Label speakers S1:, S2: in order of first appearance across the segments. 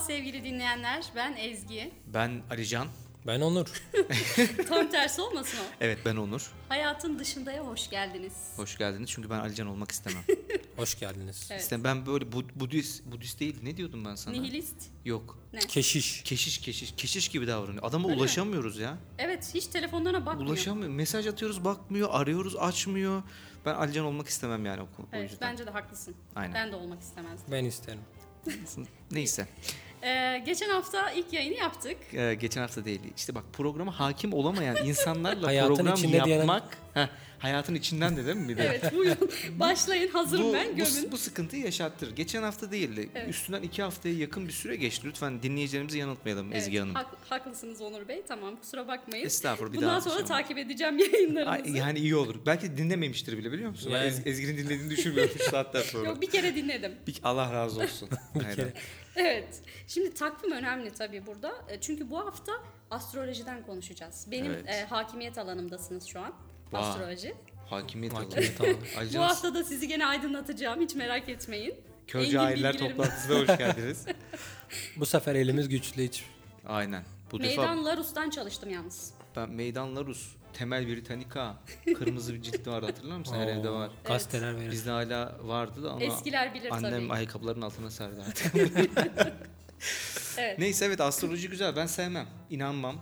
S1: sevgili dinleyenler. Ben Ezgi.
S2: Ben Alican.
S3: Ben Onur.
S1: Tam tersi olmasın o.
S2: Evet ben Onur.
S1: Hayatın dışındaya hoş geldiniz.
S2: Hoş geldiniz. Çünkü ben Alican olmak istemem.
S3: Hoş geldiniz.
S1: Evet.
S2: İstem ben böyle Bud- Budist Budist değil. Ne diyordum ben sana?
S1: Nihilist.
S2: Yok.
S3: Keşiş.
S2: Keşiş keşiş keşiş gibi davranıyor. Adama
S1: Öyle mi?
S2: ulaşamıyoruz ya.
S1: Evet hiç telefonlarına bakmıyor.
S2: Ulaşamıyor. Mesaj atıyoruz bakmıyor, arıyoruz açmıyor. Ben Alican olmak istemem yani o, o
S1: Evet
S2: yüzden.
S1: bence de haklısın.
S2: Aynen.
S1: Ben de olmak istemezdim.
S3: Ben isterim.
S2: Neyse.
S1: Ee, geçen hafta ilk yayını yaptık.
S2: Ee, geçen hafta değil. İşte bak programa hakim olamayan insanlarla
S3: Hayatın
S2: program
S3: içinde diyelim.
S2: yapmak. Heh, hayatın içinden de değil mi bir de?
S1: Evet buyurun başlayın hazırım
S2: bu,
S1: ben
S2: bu-
S1: gömün.
S2: Bu, sıkıntıyı yaşattır. Geçen hafta değildi.
S1: Evet.
S2: Üstünden iki haftaya yakın bir süre geçti. Lütfen dinleyicilerimizi yanıltmayalım
S1: Evet,
S2: Ezgi Hanım.
S1: hak- haklısınız Onur Bey tamam kusura bakmayın.
S2: Estağfurullah bir
S1: Bundan
S2: daha
S1: sonra
S2: şey olmaz.
S1: takip edeceğim yayınlarınızı.
S2: Ay, yani iyi olur. Belki dinlememiştir bile biliyor musun? Ben
S3: Yani.
S2: Ez- Ezgi'nin dinlediğini düşünmüyorum şu saatten sonra.
S1: Yok bir kere dinledim.
S2: Bir- Allah razı olsun. Hayran.
S3: kere.
S1: Evet. Şimdi takvim önemli tabii burada. E, Çünkü bu hafta astrolojiden konuşacağız. Benim
S2: Evet.
S1: e, hakimiyet alanımdasınız şu an.
S2: Vay.
S1: Astroloji.
S2: Hakimiyet
S3: Hakimiyet
S2: alanı.
S3: alanı.
S2: Ayrıca
S1: Bu hafta da sizi gene aydınlatacağım. Hiç merak etmeyin. Engin
S2: Körce Aileler
S1: bilgilerim-
S2: Toplantısı'na hoş geldiniz.
S3: Bu sefer elimiz güçlü hiç.
S2: Aynen. Bu defa
S1: Meydan Larus'tan çalıştım yalnız.
S2: ben Meydan Larus, Temel Britanika, kırmızı bir cilt vardı hatırlar mısın? Her
S3: Oo,
S2: evde var.
S3: Gazeteler verir.
S2: Bizde hala vardı da ama
S1: Eskiler bilir
S2: annem
S1: tabii.
S2: ayakkabıların altına serdi artık.
S1: Evet.
S2: Neyse evet astroloji güzel ben sevmem. İnanmam.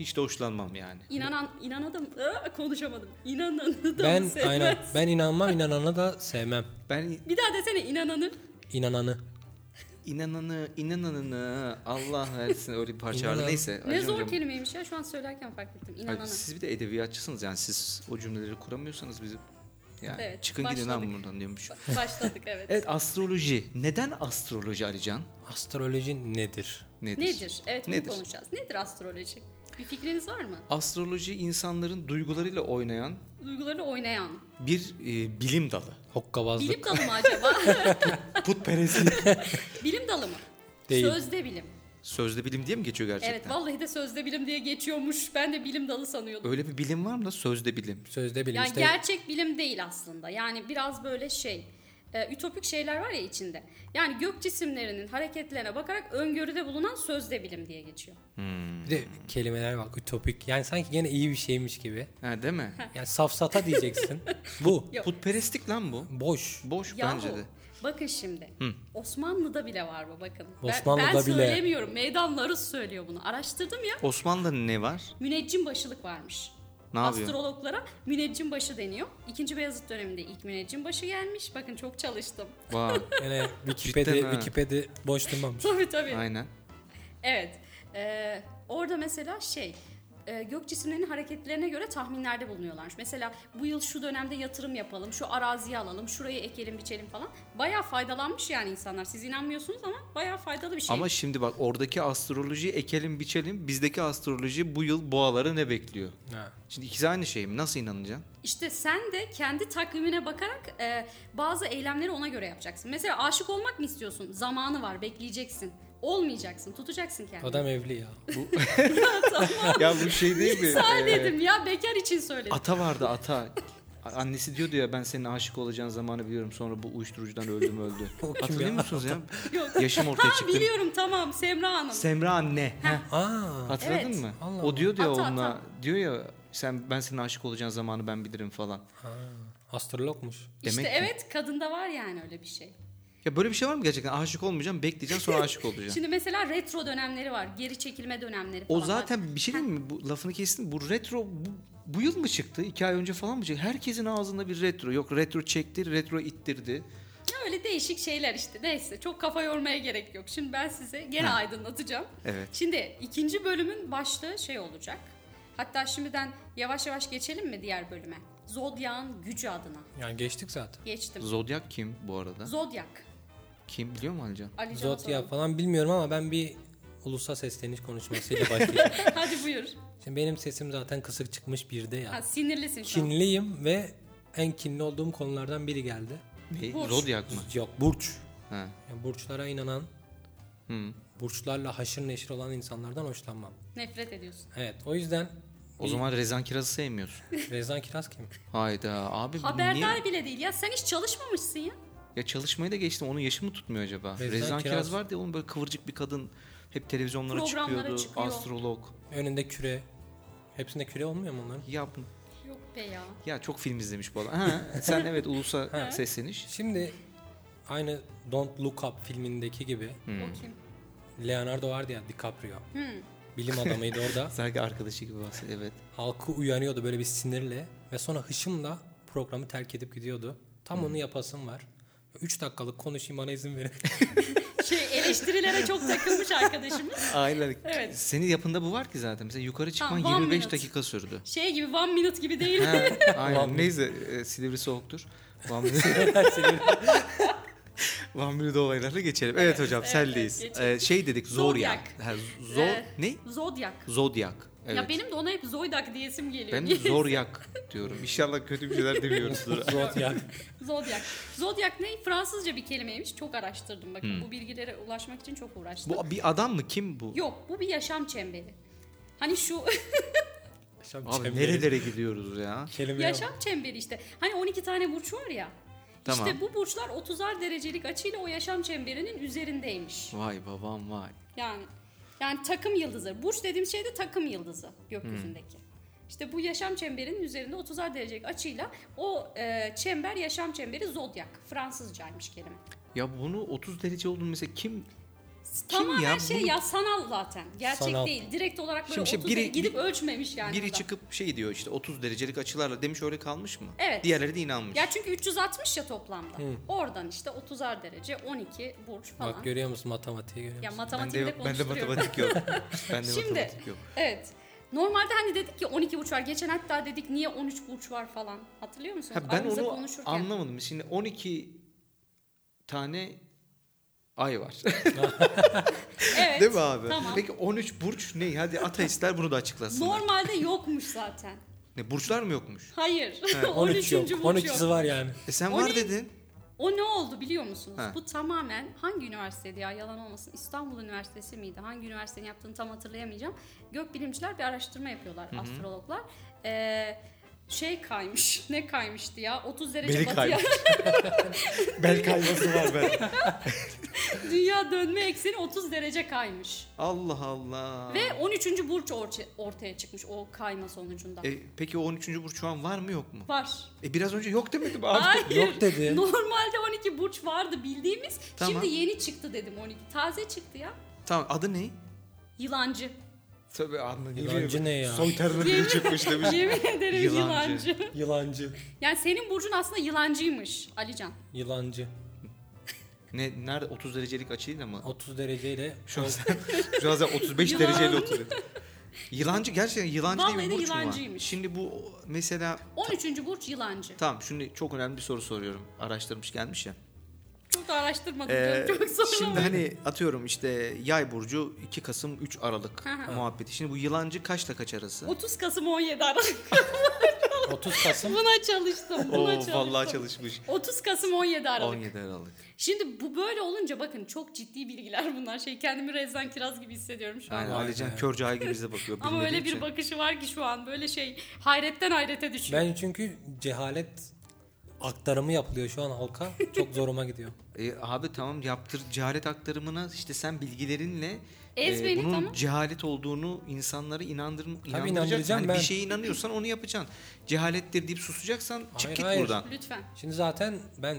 S2: Hiç de hoşlanmam yani.
S1: İnanan, inanadım. Aa, konuşamadım. İnananı da
S3: Ben
S1: mı sevmez?
S3: aynen. Ben inanmam, inananı da sevmem.
S2: Ben
S1: Bir daha desene inananı.
S3: İnananı.
S2: inananı inananını Allah versin öyle bir parça vardı.
S3: İnanan.
S2: Neyse.
S1: Ne
S2: Ayşe
S1: zor
S2: hocam,
S1: kelimeymiş ya. Şu an söylerken fark ettim.
S2: ay,
S1: İnananı.
S2: Siz bir de edebiyatçısınız yani siz o cümleleri kuramıyorsanız bizim. Yani
S1: Evet,
S2: çıkın gidin
S1: başladık.
S2: lan buradan diyormuş.
S1: Ba- Başladık evet.
S2: Evet astroloji. Neden astroloji Alican?
S3: Astroloji nedir?
S2: Nedir?
S1: Nedir? Evet bunu
S2: Nedir?
S1: konuşacağız. Nedir astroloji? Bir fikriniz var mı?
S2: Astroloji insanların duygularıyla oynayan
S1: Duygularını oynayan.
S2: bir e, bilim dalı.
S3: Hokkabazlık
S1: Bilim dalı mı acaba?
S2: Putperestlik.
S1: bilim dalı mı?
S3: Değil.
S1: Sözde bilim.
S2: Sözde bilim diye mi geçiyor gerçekten?
S1: Evet vallahi de sözde bilim diye geçiyormuş. Ben de bilim dalı sanıyordum.
S2: Öyle bir bilim var mı da sözde bilim?
S3: sözde bilim
S1: Yani
S3: işte.
S1: gerçek bilim değil aslında. Yani biraz böyle şey e, ütopik şeyler var ya içinde. Yani gök cisimlerinin hareketlerine bakarak öngörüde bulunan sözde bilim diye geçiyor.
S3: Bir de kelimeler bak ütopik. Yani sanki gene iyi bir şeymiş gibi.
S2: Ha, değil mi?
S3: Yani safsata diyeceksin. Bu
S1: Yok.
S2: Putperestlik lan bu.
S3: boş.
S2: Boş
S1: Yahu,
S2: bence de.
S1: bakın şimdi. Osmanlı'da bile var bu bakın. Ben-
S3: Osmanlı'da
S1: ben,
S3: bile.
S1: söylemiyorum. Meydan Larus söylüyor bunu. Araştırdım ya.
S2: Osmanlı'da ne var?
S1: Müneccim başılık varmış.
S2: Ne yapıyor?
S1: Astrologlara müneccim başı deniyor. İkinci Beyazıt döneminde ilk müneccim başı gelmiş. Bakın çok çalıştım.
S2: Vay,
S3: Yani
S2: Cidden
S3: Wikipedia,
S2: ha.
S3: Wikipedia boş durmamış.
S1: Tabii tabii.
S2: aynen.
S1: Evet. Ee, orada mesela şey e, gök cisimlerinin hareketlerine göre tahminlerde bulunuyorlarmış. Mesela bu yıl şu dönemde yatırım yapalım, şu araziyi alalım, şurayı ekelim, biçelim falan. Bayağı faydalanmış yani insanlar. Siz inanmıyorsunuz ama bayağı faydalı bir şey.
S2: Ama şimdi bak oradaki astrolojiyi ekelim biçelim. Bizdeki astroloji bu yıl boğaları ne bekliyor?
S3: Ha.
S2: Şimdi ikisi aynı şey mi? Nasıl inanacaksın?
S1: İşte sen de kendi takvimine bakarak e, bazı eylemleri ona göre yapacaksın. Mesela aşık olmak mı istiyorsun? Zamanı var, bekleyeceksin. Olmayacaksın, tutacaksın kendini.
S3: Adam evli ya.
S2: ya bu şey değil mi?
S1: Sen
S2: Ee,
S1: dedim ya bekar için söyledim.
S2: ata vardı ata. A- Annesi diyordu ya ben senin aşık olacağın zamanı biliyorum sonra bu uyuşturucudan öldüm öldü.
S3: O kim
S2: Hatırlıyor
S3: ya?
S2: musunuz ya?
S1: Yok.
S2: Yaşım ortaya
S1: Ha
S2: çıktı.
S1: biliyorum tamam Semra Hanım.
S2: Semra anne. Heh.
S3: Aa.
S2: Hatırladın
S1: Evet.
S2: mı?
S3: Allah
S2: o diyor ya
S1: Ata,
S2: onunla
S1: ata.
S2: diyor ya sen ben senin aşık olacağın zamanı ben bilirim falan.
S3: Astrologmuş.
S1: işte
S2: demek ki-
S1: evet kadında var yani öyle bir şey.
S2: Ya böyle bir şey var mı gerçekten? Aşık olmayacağım, bekleyeceğim sonra aşık olacağım.
S1: Şimdi mesela retro dönemleri var. Geri çekilme dönemleri falan.
S2: o
S1: var.
S2: zaten bir şey değil mi? Bu lafını kestim. Bu retro bu, bu yıl mı çıktı? İki ay önce falan mı çıktı? Herkesin ağzında bir retro. Yok retro çekti, retro ittirdi.
S1: Ya öyle değişik şeyler işte. Neyse çok kafa yormaya gerek yok. Şimdi ben size gene aydınlatacağım.
S2: Evet.
S1: Şimdi ikinci bölümün başlığı şey olacak. Hatta şimdiden yavaş yavaş geçelim mi diğer bölüme? Zodyak'ın gücü adına.
S3: Yani geçtik zaten.
S1: Geçtim.
S2: Zodyak kim bu arada?
S1: Zodyak.
S2: kim biliyor mu Alican?
S1: Ali Can'a
S3: Zodya
S1: soralım.
S3: falan bilmiyorum ama ben bir ulusa sesleniş konuşmasıyla başlayacağım.
S1: Hadi buyur.
S3: Şimdi benim sesim zaten kısık çıkmış bir de
S1: Ha,
S3: ya.
S1: sinirlisin şu an.
S3: Kinliyim ve en kinli olduğum konulardan biri geldi.
S2: Ne?
S1: Burç.
S2: Zodyak mı?
S3: Yok burç.
S2: Ha.
S3: Yani burçlara inanan,
S2: Hı.
S3: burçlarla haşır neşir olan insanlardan hoşlanmam.
S1: Nefret ediyorsun.
S3: Evet o yüzden
S2: O zaman Rezan Kiraz'ı sevmiyorsun.
S3: Rezan Kiraz kim?
S2: Hayda abi bu niye?
S1: Haberdar bile değil ya. Sen hiç çalışmamışsın ya.
S2: Ya çalışmayı da geçtim. Onun yaşı mı tutmuyor acaba?
S3: Rezan
S2: Rezan, Kiraz,
S3: Kiraz.
S2: vardı ya onun böyle kıvırcık bir kadın hep televizyonlara
S1: Programlara
S2: çıkıyordu.
S1: çıkıyor.
S2: Astrolog.
S3: Önünde küre. Hepsinde küre olmuyor mu onların?
S2: Ya,
S1: Yok be ya.
S2: ya çok film izlemiş bu adam. Ha, sen evet ulusa sesleniş.
S3: Şimdi aynı Don't Look Up filmindeki gibi
S1: O kim?
S3: Leonardo vardı ya DiCaprio. Bilim adamıydı orada.
S2: Sanki arkadaşı gibi bahsediyor. Evet.
S3: Halkı uyanıyordu böyle bir sinirle ve sonra hışımla programı terk edip gidiyordu. Tam
S2: Hmm.
S3: onu yapasım var. 3 dakikalık konuşayım bana izin verin.
S1: Şey eleştirilere çok takılmış arkadaşımız.
S2: Aynen.
S1: Evet.
S2: Senin yapında bu var ki zaten. Mesela yukarı çıkman
S1: one
S2: 25
S1: minute.
S2: dakika sürdü.
S1: Şey gibi one minute gibi değil.
S2: Ha, aynen. Neyse e, Silivri soğuktur. Van Mülü- Van Mülü olaylarla geçelim. Evet, hocam
S1: evet,
S2: sendeyiz.
S1: evet, geçelim.
S2: E, şey dedik Zoryak.
S1: Zodyak.
S2: Ha, zo
S1: Ee,
S2: ne?
S1: Zodyak.
S2: Zodyak. Evet.
S1: Ya benim de ona hep Zoydak diyesim geliyor.
S2: ben de Zoryak diyorum. İnşallah kötü bir şeyler demiyoruzdur.
S3: Zodiac.
S1: Zodyak. Zodyak ne? Fransızca bir kelimeymiş. Çok araştırdım bakın. Bu bilgilere ulaşmak için çok uğraştım.
S2: bu bir adam mı? Kim Hmm. bu?
S1: Yok bu bir yaşam çemberi. Hani şu
S3: Yaşam
S2: Abi
S3: çemberi.
S2: nerelere gidiyoruz ya?
S3: Kelime
S1: yaşam çemberi işte. Hani 12 tane burç var ya.
S2: Tamam.
S1: İşte bu burçlar 30'ar derecelik açıyla o yaşam çemberinin üzerindeymiş.
S2: Vay babam vay.
S1: Yani yani takım yıldızı. Burç dediğim şey de takım yıldızı gökyüzündeki. İşte bu yaşam çemberinin üzerinde 30'ar derecelik açıyla o e, çember yaşam çemberi zodyak. Fransızcaymış kelime.
S2: Ya bunu 30 derece olduğunu mesela kim
S1: Tamamen
S2: ya?
S1: şey
S2: Bunu-
S1: ya sanal zaten. Gerçek
S3: Sanal.
S1: değil. Direkt olarak böyle
S2: Şimdi şey,
S1: 30
S2: biri-
S1: derece- gidip ölçmemiş yani.
S2: biri
S1: adam.
S2: çıkıp şey diyor işte 30 derecelik açılarla demiş öyle kalmış mı?
S1: Evet.
S2: Diğerleri de inanmış.
S1: Ya çünkü 360 ya toplamda. Oradan işte 30'ar derece 12 burç falan.
S3: Bak görüyor musun matematiği görüyor
S1: ya
S3: musun?
S1: matematiğimde
S2: yok, bende
S1: konuşturuyorum.
S2: matematik yok. Bende
S1: Şimdi-
S2: matematik yok.
S1: Evet. Normalde hani dedik ya 12 burç var. Geçen hatta dedik niye 13 burç var falan. Hatırlıyor musunuz?
S2: Ha, ben
S1: Aramızda
S2: onu
S1: konuşurken.
S2: anlamadım. Şimdi 12 tane ay var.
S1: Evet.
S2: Değil mi abi?
S1: Tamam.
S2: Peki 13 burç ne? Hadi ateistler bunu da açıklasınlar.
S1: Normalde yokmuş zaten.
S2: Ne burçlar mı yokmuş?
S1: Hayır.
S3: 13
S1: 13.
S3: yok.
S1: burç
S3: 12'si
S1: yok.
S3: var yani.
S2: E sen
S1: O
S2: var
S1: ne?
S2: dedin.
S1: O ne oldu biliyor musunuz?
S2: Ha.
S1: Bu tamamen hangi üniversiteydi ya yalan olmasın. İstanbul Üniversitesi miydi? Hangi üniversitenin yaptığını tam hatırlayamayacağım. Gökbilimciler bir araştırma yapıyorlar astrologlar. Ee, şey kaymış. Ne kaymıştı ya? 30 derece
S2: Beli
S1: batıya
S2: kaymış. Bel kayması var ben.
S1: dünya dönme ekseni 30 derece kaymış.
S2: Allah Allah.
S1: Ve 13. burç orça- ortaya çıkmış o kayma sonucunda.
S2: E, peki o 13. burç şu an var mı yok mu?
S1: Var.
S2: E biraz önce yok demedim abi.
S1: Hayır.
S3: Yok dedi.
S1: Normalde 12 burç vardı bildiğimiz.
S2: Tamam.
S1: Şimdi yeni çıktı dedim 12. Taze çıktı ya.
S2: Tamam adı ne?
S1: Yılancı.
S2: Tabii adını
S3: Yılancı ne ya?
S2: terme
S1: Yemin-
S2: çıkmış demiş.
S1: Yemin ederim
S2: Yılancı.
S1: yılancı.
S3: Yılancı.
S1: Yani senin burcun aslında yılancıymış Alican.
S3: Yılancı.
S2: ne, nerede 30 derecelik açıyla mı?
S3: 30 dereceyle
S2: Şu an sen, şu an sen 35
S1: Yılan.
S2: dereceyle oturuyor. Yılancı gerçekten yılancı
S1: Vallahi
S2: diye
S1: de
S2: bir burç mu var?
S1: yılancıymış.
S2: Şimdi bu mesela
S1: 13. burç yılancı.
S2: tamam şimdi çok önemli bir soru soruyorum. Araştırmış gelmiş ya.
S1: Çok da araştırmadım
S2: Ee,
S1: canım. Çok sorun
S2: şimdi hani atıyorum işte yay burcu 2 Kasım 3 Aralık
S1: Hı hı.
S2: muhabbeti. Şimdi bu yılancı kaçla kaç arası?
S1: 30 Kasım 17 Aralık.
S3: 30 Kasım
S1: Buna çalıştım. Buna
S2: Oo
S1: çalıştım.
S2: vallahi çalışmış.
S1: 30 Kasım 17 Aralık.
S2: 17 Aralık.
S1: Şimdi bu böyle olunca bakın çok ciddi bilgiler bunlar. Şey kendimi Rezan Kiraz gibi hissediyorum şu an.
S2: Aynen şey.
S3: Vay
S2: Alican
S3: be.
S2: kör cahil gibi bize bakıyor.
S1: Ama
S2: bilmediği
S1: öyle bir
S2: için.
S1: bakışı var ki şu an böyle şey hayretten hayrete düşüyor.
S3: Ben çünkü cehalet aktarımı yapılıyor şu an halka. Çok zoruma gidiyor.
S2: E, abi tamam yaptır cehalet aktarımına işte sen bilgilerinle e,
S1: Ezberi
S2: bunun
S1: tamam.
S2: cehalet olduğunu insanlara inandır inandıracaksın.
S3: inandıracağım
S2: Hani
S3: ben.
S2: bir şeye inanıyorsan onu yapacaksın. Cehalettir deyip susacaksan çık
S3: Hayır,
S2: git
S3: hayır.
S2: buradan.
S1: Lütfen.
S3: Şimdi zaten ben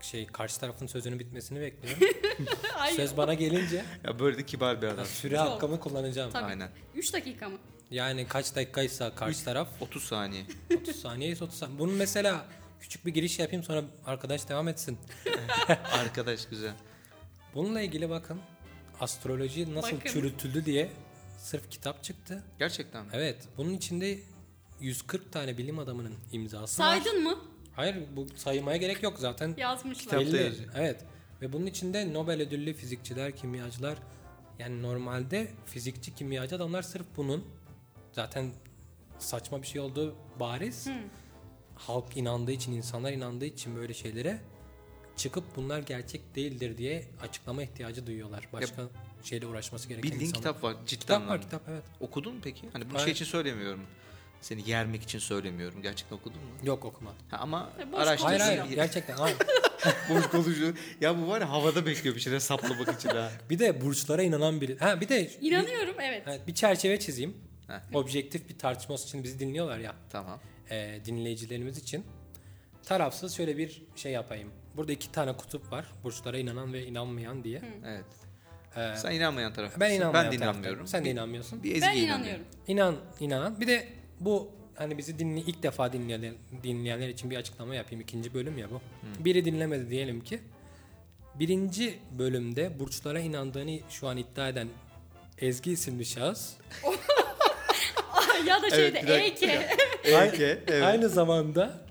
S3: şey karşı tarafın sözünün bitmesini bekliyorum.
S1: Ay,
S3: Söz bana gelince
S2: Ya böyle de kibar bir adam.
S3: süre
S1: Çok.
S3: hakkımı kullanacağım.
S1: Tabii.
S2: Aynen.
S1: 3 dakika mı?
S3: Yani kaç dakikaysa karşı taraf
S2: 30 saniye.
S3: 30 saniye 30 saniye. Bunun mesela küçük bir giriş yapayım sonra arkadaş devam etsin.
S2: Arkadaş güzel.
S3: Bununla ilgili bakın astroloji nasıl
S1: Bakın.
S3: çürütüldü diye sırf kitap çıktı.
S2: Gerçekten mi?
S3: Evet bunun içinde 140 tane bilim adamının imzası var.
S1: Saydın mı?
S3: Hayır bu saymaya gerek yok zaten.
S1: Yazmışlar.
S2: Kitap- Kitapta
S3: Belli.
S2: yazıyor.
S3: Evet. Ve bunun içinde Nobel ödüllü fizikçiler, kimyacılar yani normalde fizikçi, kimyacı adamlar sırf bunun zaten saçma bir şey olduğu bariz. Halk inandığı için, insanlar inandığı için böyle şeylere çıkıp bunlar gerçek değildir diye açıklama ihtiyacı duyuyorlar. Başka şeyle uğraşması gereken
S2: Bildiğin
S3: insanlar.
S2: kitap var cidden.
S3: Kitap var
S2: anlamda.
S3: kitap evet.
S2: Okudun mu peki? Hani bu
S3: Hayır.
S2: şey için söylemiyorum. Seni yermek için söylemiyorum. Gerçekten okudun mu?
S3: Yok okumadım.
S2: Ha, ama
S1: E, boş
S2: araştırdın.
S3: Hayır hayır
S1: Yok.
S3: gerçekten hayır.
S2: Boş konuşuyor. Ya bu var ya havada bekliyor bir şeyler saplamak için ha.
S3: Bir de burçlara inanan biri. Ha bir de
S1: İnanıyorum evet.
S3: Evet, bir çerçeve çizeyim.
S2: Heh.
S3: Objektif bir tartışması için bizi dinliyorlar ya
S2: Tamam.
S3: e, dinleyicilerimiz için. Tarafsız şöyle bir şey yapayım. Burada iki tane kutup var. Burçlara inanan ve inanmayan diye.
S2: Evet.
S3: E,
S2: Sen inanmayan taraf.
S3: ben inanmayan
S2: Ben de
S3: taraftayım.
S2: inanmıyorum.
S3: Sen de
S2: Bir-
S3: inanmıyorsun.
S2: Bir Ezgi
S1: Ben
S2: inanıyor.
S1: inanıyorum.
S3: İnan, inanan. Bir de bu hani bizi dinli, ilk defa dinleyen, dinleyenler için bir açıklama yapayım. İkinci bölüm ya bu. Biri dinlemedi diyelim ki. Birinci bölümde burçlara inandığını şu an iddia eden Ezgi isimli şahıs.
S1: ya da şeyde E
S2: Evet, bir dakika.
S1: EK.
S2: Peki. Evet.
S3: Aynı zamanda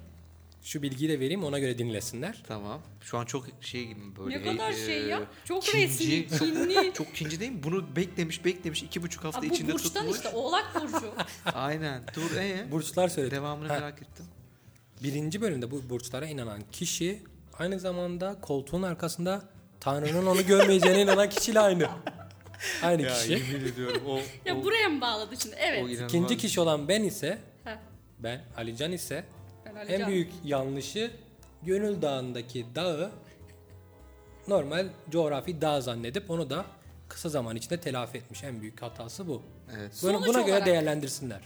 S3: şu bilgiyi de vereyim ona göre dinlesinler.
S2: Tamam. Şu an çok şey gibi böyle.
S1: Ne kadar
S2: e,
S1: şey ya. Çok
S2: kinci,
S1: resmi,
S2: çok-
S1: kinli.
S2: Çok kinci değil mi? Bunu beklemiş beklemiş iki buçuk hafta
S1: Aa, bu
S2: içinde
S1: burçtan
S2: tutmuş.
S1: işte Oğlak Burcu.
S2: Aynen. Dur ee.
S3: Burçlar söyledi.
S2: Devamını
S3: Ha.
S2: merak ettim.
S3: Birinci bölümde bu burçlara inanan kişi aynı zamanda koltuğun arkasında Tanrı'nın onu görmeyeceğine inanan kişiyle aynı. Aynı Hani kişi.
S2: ediyorum o,
S1: ya buraya mı bağladı şimdi? Evet.
S3: İkinci kişi olan ben ise
S1: Heh,
S3: ben Alican ise
S1: ben
S3: en
S1: alacağım.
S3: büyük yanlışı Gönül Dağı'ndaki dağı normal coğrafi dağ zannedip onu da kısa zaman içinde telafi etmiş. En büyük hatası bu.
S2: Evet.
S3: Bunu,
S1: Sonuç
S3: buna göre
S1: olarak-
S3: değerlendirsinler.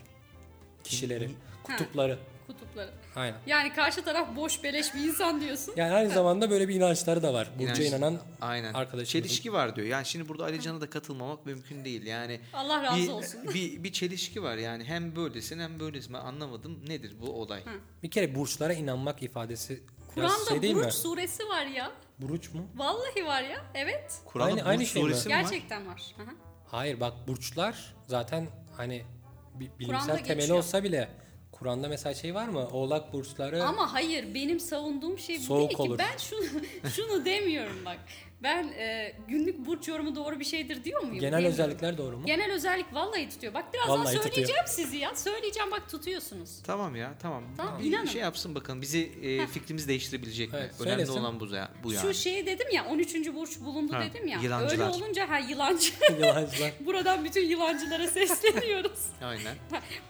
S3: Kişileri, kutupları.
S1: kutupları.
S3: Aynen.
S1: Yani karşı taraf boş beleş bir insan diyorsun.
S3: Yani aynı zamanda böyle bir inançları da var. Burcu'ya
S2: İnanç-
S3: inanan
S2: Aynen.
S3: arkadaşımızın.
S2: Çelişki var diyor. Yani şimdi burada Ali Can'a da katılmamak mümkün değil. Yani
S1: Allah razı
S2: bir,
S1: olsun.
S2: bir, bir çelişki var. Yani hem böylesin hem böylesin. Ben anlamadım. Nedir bu olay?
S3: Bir kere burçlara inanmak ifadesi biraz
S1: Kur'an'da
S3: şey değil
S1: Buruç
S3: mi?
S1: suresi var ya.
S3: Buruç mu?
S1: Vallahi var ya. Evet.
S2: Kur'an'ın
S3: Aynı- aynı
S2: Burç
S3: şey mi?
S2: suresi mi var?
S1: Gerçekten var. Aha.
S3: Hayır bak burçlar zaten hani bi- bilimsel
S1: Kur'an'da
S3: temeli
S1: geçiyor.
S3: olsa bile Kur'an'da mesela şey var mı? Oğlak burçları
S1: Ama hayır benim savunduğum şey bu
S3: Soğuk
S1: değil
S3: olur.
S1: ki. Ben şunu şunu demiyorum bak. Ben e, günlük burç yorumu doğru bir şeydir diyor muyum?
S3: genel
S1: Demiyorum.
S3: özellikler doğru mu?
S1: Genel özellik vallahi tutuyor. Bak birazdan
S3: Vallahi tutuyor.
S1: söyleyeceğim sizi ya. Söyleyeceğim bak tutuyorsunuz.
S2: Tamam ya tamam.
S1: Tamam,
S2: bir
S1: inanın.
S2: şey yapsın bakalım. Bizi e, fikrimizi değiştirebilecek mi?
S3: Evet,
S2: Önemli
S3: söylesin.
S2: olan bu, ya, bu yani.
S1: Şu şey dedim ya 13. burç bulundu
S2: Ha,
S1: dedim ya.
S2: yılancılar.
S1: Öyle olunca ha yılancı.
S3: Yalancılar.
S1: Buradan bütün yılancılara sesleniyoruz.
S2: Aynen.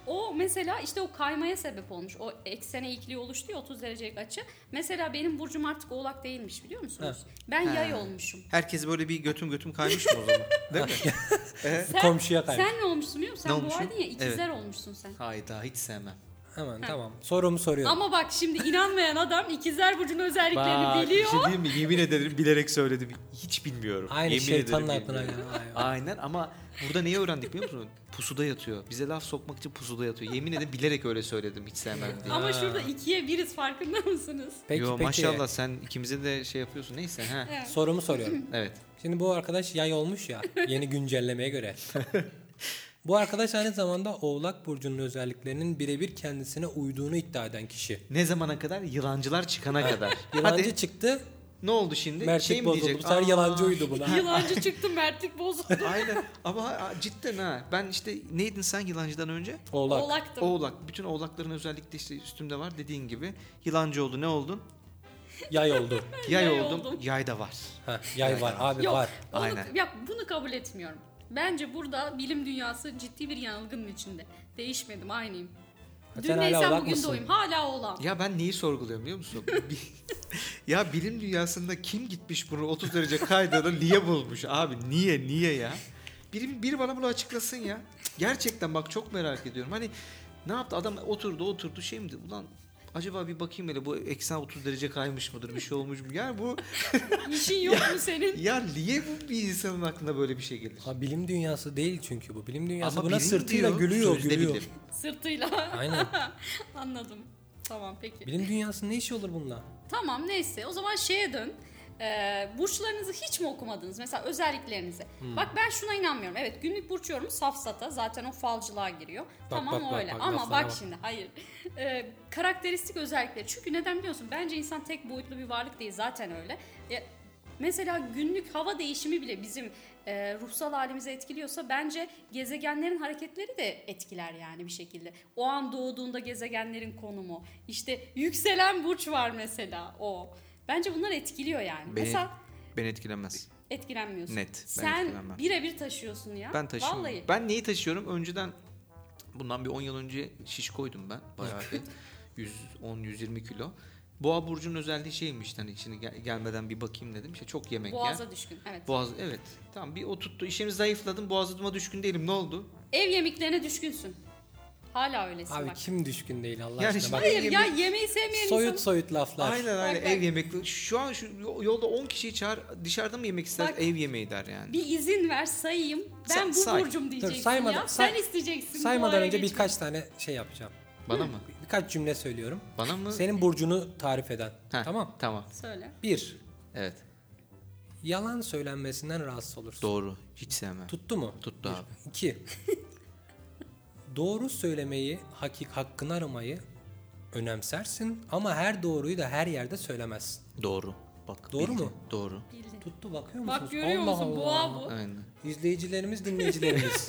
S1: O mesela işte o kaymaya sebep olmuş. O eksene eğikliği oluştu ya 30 derecelik açı. Mesela benim burcum artık oğlak değilmiş biliyor musunuz? Ben yay
S2: Ha.
S1: olmuşum.
S2: Herkes böyle bir götüm götüm kaymış mı o zaman? Değil mi?
S1: Sen,
S3: Komşuya kaymış.
S1: Sen ne olmuşsun biliyor musun?
S2: Ne
S1: Sen
S2: olmuşum?
S1: boğaydın ya ikizler olmuşsun sen.
S2: Hayda hiç sevmem.
S3: Hemen tamam. Sorumu soruyorum.
S1: Ama bak şimdi inanmayan adam ikizler burcunun özelliklerini
S2: Bak, bir
S1: biliyor.
S2: şey diyeyim mi? Yemin ederim bilerek söyledim. Hiç bilmiyorum.
S3: Aynı
S2: Yemin
S3: şeytanın
S2: ederim
S3: aklına
S2: bilmiyorum.
S3: gelen.
S2: Aynen ama burada neyi öğrendik biliyor musun? Pusuda yatıyor. Bize laf sokmak için pusuda yatıyor. Yemin ederim bilerek öyle söyledim hiç sevmem diye.
S1: Ama şurada ikiye biriz farkında mısınız?
S3: Peki
S2: Yo
S3: peki.
S2: maşallah sen ikimize de şey yapıyorsun. Neyse ha.
S1: Evet.
S3: Sorumu soruyorum.
S2: Evet.
S3: Şimdi bu arkadaş yay olmuş ya yeni güncellemeye göre. bu arkadaş aynı zamanda Oğlak Burcu'nun özelliklerinin birebir kendisine uyduğunu iddia eden kişi.
S2: Ne zamana kadar? Yılancılar çıkana kadar.
S3: Yalancı
S2: Hadi
S3: çıktı,
S2: ne oldu şimdi?
S3: mertlik
S2: şey mi
S3: bozuldu.
S2: diyecek?
S3: Bu sefer
S2: Aa,
S3: yalancı uydu buna.
S1: Yılancı çıktı mertlik bozuldu.
S2: Aynen ama ha- cidden ha. Ben işte neydin sen yılancıdan önce?
S3: Oğlak.
S1: Oğlaktım.
S2: Oğlak. Bütün oğlakların özellikle işte üstümde var dediğin gibi. Yılancı oldu ne oldun?
S3: Yay oldu.
S2: Yay,
S1: Yay
S2: oldum.
S1: oldum.
S2: Yay da var.
S3: Ha, yay var abi
S1: Yok,
S3: var.
S1: Onu,
S2: Aynen.
S1: ya bunu kabul etmiyorum. Bence burada bilim dünyası ciddi bir yanılgının içinde. Değişmedim, aynıyım.
S3: Ha, sen
S1: Dün
S3: hala
S1: neysem
S3: oğlak
S1: bugün
S3: mısın?
S1: de oyum. Hala oğlan.
S2: Ya ben neyi sorguluyorum biliyor musun? Bi- ya bilim dünyasında kim gitmiş bunu 30 derece kaydığını niye bulmuş abi? Niye niye ya? Biri, biri bana bunu açıklasın ya. Gerçekten bak çok merak ediyorum. Hani ne yaptı adam oturdu oturdu şey mi dedi? Ulan acaba bir bakayım hele bu eksen 30 derece kaymış mıdır bir şey olmuş mu? Ya bu
S1: İşin yok mu senin?
S2: ya niye bu bir insanın aklına böyle bir şey gelir?
S3: Ha, bilim dünyası değil çünkü bu. Bilim dünyası buna
S2: bilim
S3: sırtıyla
S2: diyor,
S3: gülüyor
S2: sözde
S3: gülüyor.
S2: bilim.
S1: Sırtıyla.
S3: Aynen.
S1: Anladım. Tamam peki.
S3: Bilim dünyasının ne işi olur bununla?
S1: Tamam neyse o zaman şeye dön. Ee, burçlarınızı hiç mi okumadınız? Mesela özelliklerinizi.
S3: Hmm.
S1: Bak ben şuna inanmıyorum. Evet günlük burç yorumu safsata. Zaten o falcılığa giriyor. tamam
S3: bak, bak,
S1: öyle.
S3: bak,
S1: Ama
S3: laflara
S1: bak
S3: bak.
S1: şimdi hayır. Ee, karakteristik özellikleri. Çünkü neden biliyorsun? Bence insan tek boyutlu bir varlık değil. Zaten öyle. E, mesela günlük hava değişimi bile bizim e, ruhsal halimizi etkiliyorsa bence gezegenlerin hareketleri de etkiler yani bir şekilde. O an doğduğunda gezegenlerin konumu. İşte yükselen burç var mesela o. Bence bunlar etkiliyor yani.
S2: Beni-
S1: Mesela
S2: Beni etkilemez.
S1: etkilenmiyorsun.
S2: Net, ben etkilenmem.
S1: Sen birebir taşıyorsun ya.
S2: Ben taşıyorum.
S1: Vallahi.
S2: Ben neyi taşıyorum? Önceden bundan bir 10 yıl önce şiş koydum ben. Bayağı bir 110-120 kilo. Boğa burcunun özelliği şeymiş hani şimdi gel- gelmeden bir bakayım dedim. İşte çok yemek
S1: Boğaza
S2: ya.
S1: düşkün. Evet.
S2: Boğaz evet. Tamam bir oturttu. İşimi zayıfladım. Boğazıma düşkün değilim. Ne oldu?
S1: Ev yemeklerine düşkünsün. Hala öylesin
S3: Abi
S1: bak.
S3: kim düşkün değil Allah
S2: Yani
S3: aşkına.
S2: şimdi-
S3: Bak,
S1: Hayır ya
S2: Yemek-
S1: yemeği sevmeyen
S3: soyut
S1: insan.
S3: soyut laflar.
S2: Aynen aynen
S1: bak.
S2: ev yemek. Şu an şu yolda 10 kişiyi çağır dışarıda mı yemek ister
S1: Bak.
S2: ev yemeği der yani.
S1: Bir izin ver sayayım. Ben
S2: Say-
S1: bu
S2: say.
S1: burcum diyeceksin
S3: saymadan-
S1: ya.
S3: say-
S1: Sen isteyeceksin. bu
S3: Saymadan
S1: araya
S3: önce
S1: geçmeyi.
S3: birkaç tane şey yapacağım.
S2: Bana mı?
S3: Birkaç cümle söylüyorum.
S2: Bana mı?
S3: Senin burcunu tarif eden.
S2: Heh,
S3: Tamam.
S2: Tamam.
S1: Söyle.
S3: Bir,
S2: Evet.
S3: yalan söylenmesinden rahatsız olursun.
S2: Doğru. Hiç sevmem.
S3: Tuttu mu?
S2: Tuttu abi.
S3: İki, doğru söylemeyi, hakik hakkını aramayı önemsersin ama her doğruyu da her yerde söylemezsin.
S2: Doğru. Bak.
S3: Doğru
S2: bildin.
S3: mu?
S2: Doğru.
S1: Bildin.
S3: Tuttu bakıyor musunuz?
S1: Bak görüyor
S3: Allah
S1: musun?
S3: Allah.
S1: Boğa bu.
S2: Aynen.
S3: İzleyicilerimiz, dinleyicilerimiz.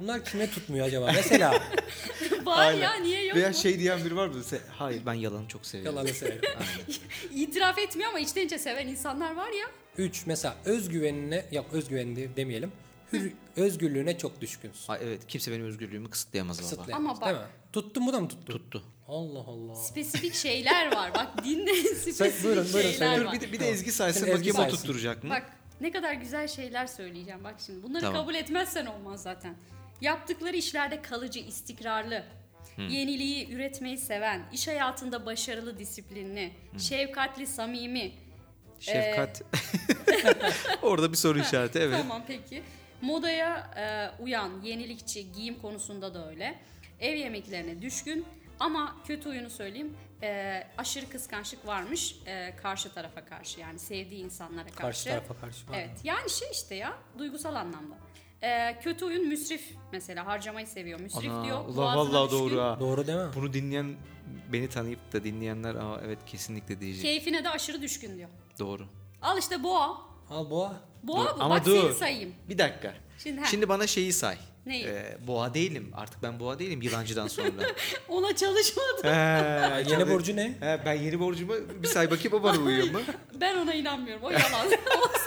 S3: Bunlar kime tutmuyor acaba? Mesela
S1: Var ya niye yok
S2: Veya
S1: mu?
S2: şey diyen biri var mı? Se- Hayır ben yalanı çok seviyorum.
S3: yalanı severim. şey-
S1: İtiraf etmiyor ama içten içe seven insanlar var ya.
S3: Üç, mesela özgüvenine, yok özgüven de- demeyelim. Hür, özgürlüğüne çok düşkünsün.
S2: Ay, evet kimse benim özgürlüğümü kısıtlayamaz baba.
S3: Kısıtlayamaz
S1: Ama bak-
S3: değil mi? Tuttu mu da mı tuttu?
S2: Tuttu.
S3: Allah Allah.
S1: Spesifik şeyler var. Bak dinle spesifik
S3: buyurun, buyurun,
S1: şeyler
S3: söyleyin.
S2: Dur
S1: var.
S2: bir de, bir de
S3: Tamam.
S2: Ezgi saysa
S3: Şimdi Ezgi
S2: bakayım
S3: saysın.
S2: oturtturacak mı?
S1: Bak ne kadar güzel şeyler söyleyeceğim. Bak şimdi bunları
S2: Tamam.
S1: kabul etmezsen olmaz zaten. Yaptıkları işlerde kalıcı, istikrarlı, yeniliği üretmeyi seven, iş hayatında başarılı, disiplinli, şefkatli, samimi. e,
S2: Şefkat. Orada bir soru işareti evet.
S1: Tamam peki. Modaya e, uyan, yenilikçi, giyim konusunda da öyle. Ev yemeklerine düşkün ama kötü oyunu söyleyeyim. e, aşırı kıskançlık varmış e, karşı tarafa karşı yani sevdiği insanlara karşı.
S3: Karşı tarafa karşı. var mı?
S1: Evet yani şey işte ya duygusal anlamda. Ee, kötü oyun müsrif mesela harcamayı seviyor. Müsrif
S2: Ana,
S1: diyor.
S2: ulan
S1: boğazına
S2: vallahi
S1: düşkün,
S2: doğru ha.
S3: Doğru değil mi?
S2: Bunu dinleyen beni tanıyıp da dinleyenler aa evet kesinlikle diyecek.
S1: Keyfine de aşırı düşkün diyor.
S2: Doğru.
S1: Al işte boğa.
S3: Al boğa.
S1: Boğa
S2: Dur,
S1: bu
S2: ama
S1: bak
S2: dur.
S1: seni sayayım.
S2: Bir dakika.
S1: Şimdi, ha,
S2: Şimdi bana şeyi say.
S1: Neyi?
S2: Ee, boğa değilim. Artık ben boğa değilim yılancıdan sonra.
S1: ona çalışmadım.
S2: He,
S3: Yeni burcu ne?
S2: He, ben yeni borcumu bir say bakayım o bana uyuyor mu?
S1: Ben ona inanmıyorum. O yalan. o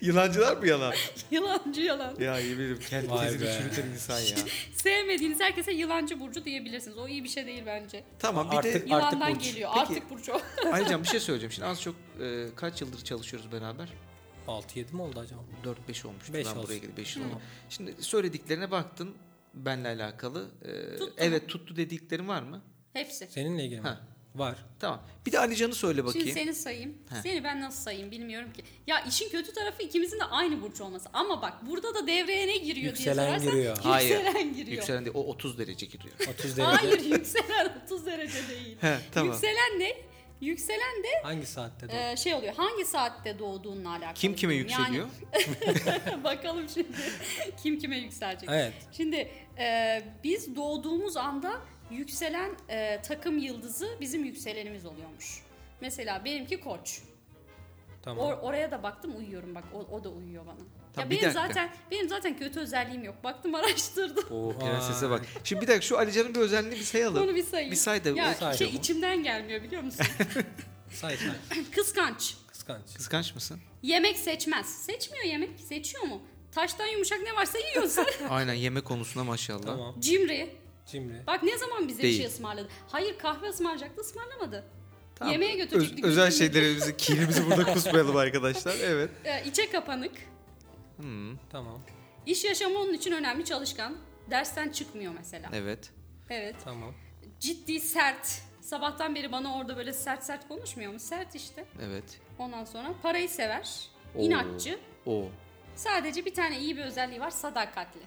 S2: Yılancılar mı yalan?
S1: yılancı yalan.
S2: Ya yemin ederim kendi
S3: Vay
S2: tezini
S3: be.
S2: çürüten insan ya.
S1: Sevmediğiniz herkese yılancı burcu diyebilirsiniz. O iyi bir şey değil bence.
S2: Tamam bir
S3: Artık-
S2: de
S1: Yılandan
S3: burç.
S1: geliyor.
S2: Peki.
S1: Artık burcu.
S2: Ayrıca bir şey söyleyeceğim. Şimdi az çok e, kaç yıldır çalışıyoruz beraber?
S3: 6-7 mi oldu acaba?
S2: 4-5 olmuştu
S3: Beş
S2: ben
S3: olsun.
S2: buraya gelip 5 yıl oldu. Şimdi söylediklerine baktın benle alakalı. E,
S1: Tuttu mu?
S2: evet tuttu dediklerin var mı?
S1: Hepsi.
S3: Seninle ilgili mi?
S2: Ha.
S3: Var.
S2: Tamam. Bir de Alican'ı söyle bakayım.
S1: Şimdi seni sayayım.
S2: Heh.
S1: Seni ben nasıl sayayım bilmiyorum ki. Ya işin kötü tarafı ikimizin de aynı burç olması. Ama bak burada da devreye ne giriyor
S3: Yükselen
S1: diye sorarsan
S3: giriyor.
S2: Hayır.
S1: yükselen giriyor.
S2: Yükselen değil, o 30 derece gidiyor.
S3: 30 derece.
S1: Hayır yükselen 30 derece değil.
S2: He, tamam.
S1: Yükselen ne? Yükselen de
S3: Hangi saatte doğdu?
S1: e, şey oluyor. Hangi saatte doğduğunla alakalı.
S2: Kim kime
S1: diyorum. Yani-
S2: yükseliyor?
S1: bakalım şimdi kim kime yükselecek.
S3: Evet.
S1: Şimdi e, biz doğduğumuz anda yükselen e, takım yıldızı bizim yükselenimiz oluyormuş. Mesela benimki koç.
S3: Tamam.
S1: Or- oraya da baktım uyuyorum bak o, o da uyuyor bana.
S2: Tamam,
S1: ya
S2: bir
S1: benim
S2: dakika.
S1: zaten benim zaten kötü özelliğim yok. Baktım araştırdım.
S2: Oo prensese bak. Şimdi bir dakika şu Alican'ın bir özelliğini bir sayalım.
S1: Onu bir sayayım.
S2: Bir say da- e,
S1: Ya
S2: o
S3: say
S1: şey
S3: da bu.
S1: içimden gelmiyor biliyor musun?
S3: Say say.
S1: Kıskanç.
S3: Kıskanç.
S2: Kıskanç mısın?
S1: Yemek seçmez. Seçmiyor yemek. Seçiyor mu? Taştan yumuşak ne varsa yiyorsun.
S2: Aynen yeme konusunda maşallah.
S3: Tamam.
S1: Cimri.
S3: Cimri.
S1: Bak ne zaman bize
S2: Değil.
S1: bir şey ısmarladı. Hayır kahve ısmarlayacaktı ısmarlamadı.
S2: Tamam.
S1: Yemeğe götürecektik.
S2: Öz- özel
S1: götürmedi.
S2: şeylerimizi, kirimizi burada kusmayalım arkadaşlar. Evet.
S1: Ee, içe kapanık.
S2: Hmm,
S3: Tamam.
S1: İş yaşamı onun için önemli çalışkan. Dersten çıkmıyor mesela. Evet.
S2: evet.
S3: Tamam.
S1: Ciddi sert. Sabahtan beri bana orada böyle sert sert konuşmuyor mu? Sert işte.
S2: Evet.
S1: Ondan sonra parayı sever.
S2: Oo.
S1: inatçı.
S2: O.
S1: Sadece bir tane iyi bir özelliği var sadakatli.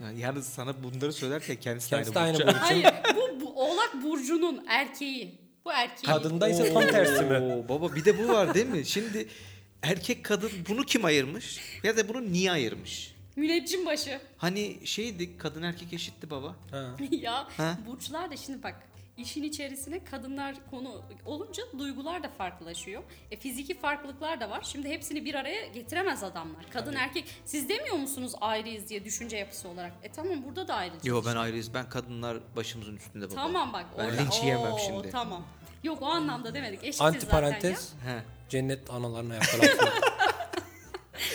S2: Yani yalnız sana bunları söylerken kendisi,
S3: Kendisi de
S2: aynı
S3: aynı
S2: burcu.
S3: burcu.
S1: Hayır bu, bu Oğlak Burcu'nun erkeği. Bu erkeği.
S3: Kadında ise tam tersi mi?
S2: Oo, baba bir de bu var değil mi? Şimdi erkek kadın bunu kim ayırmış? Ya da bunu niye ayırmış?
S1: Müneccim başı.
S2: Hani şeydi kadın erkek eşitti baba.
S3: Ha.
S1: ya
S2: Ha?
S1: burçlar da şimdi bak işin içerisine kadınlar konu olunca duygular da farklılaşıyor. E, fiziki farklılıklar da var. Şimdi hepsini bir araya getiremez adamlar. Kadın erkek siz demiyor musunuz ayrıyız diye düşünce yapısı olarak. E tamam burada da ayrıyız.
S2: Yo ben ayrıyız. Ben kadınlar başımızın üstünde baba.
S1: Tamam bak.
S2: Ben
S1: orada-
S2: linç yiyemem
S1: Oo,
S2: şimdi.
S1: Tamam. Yok o anlamda demedik. Eşitiz
S3: Anti
S1: zaten ya.
S3: parantez.
S2: He.
S3: Cennet analarına yakalatma.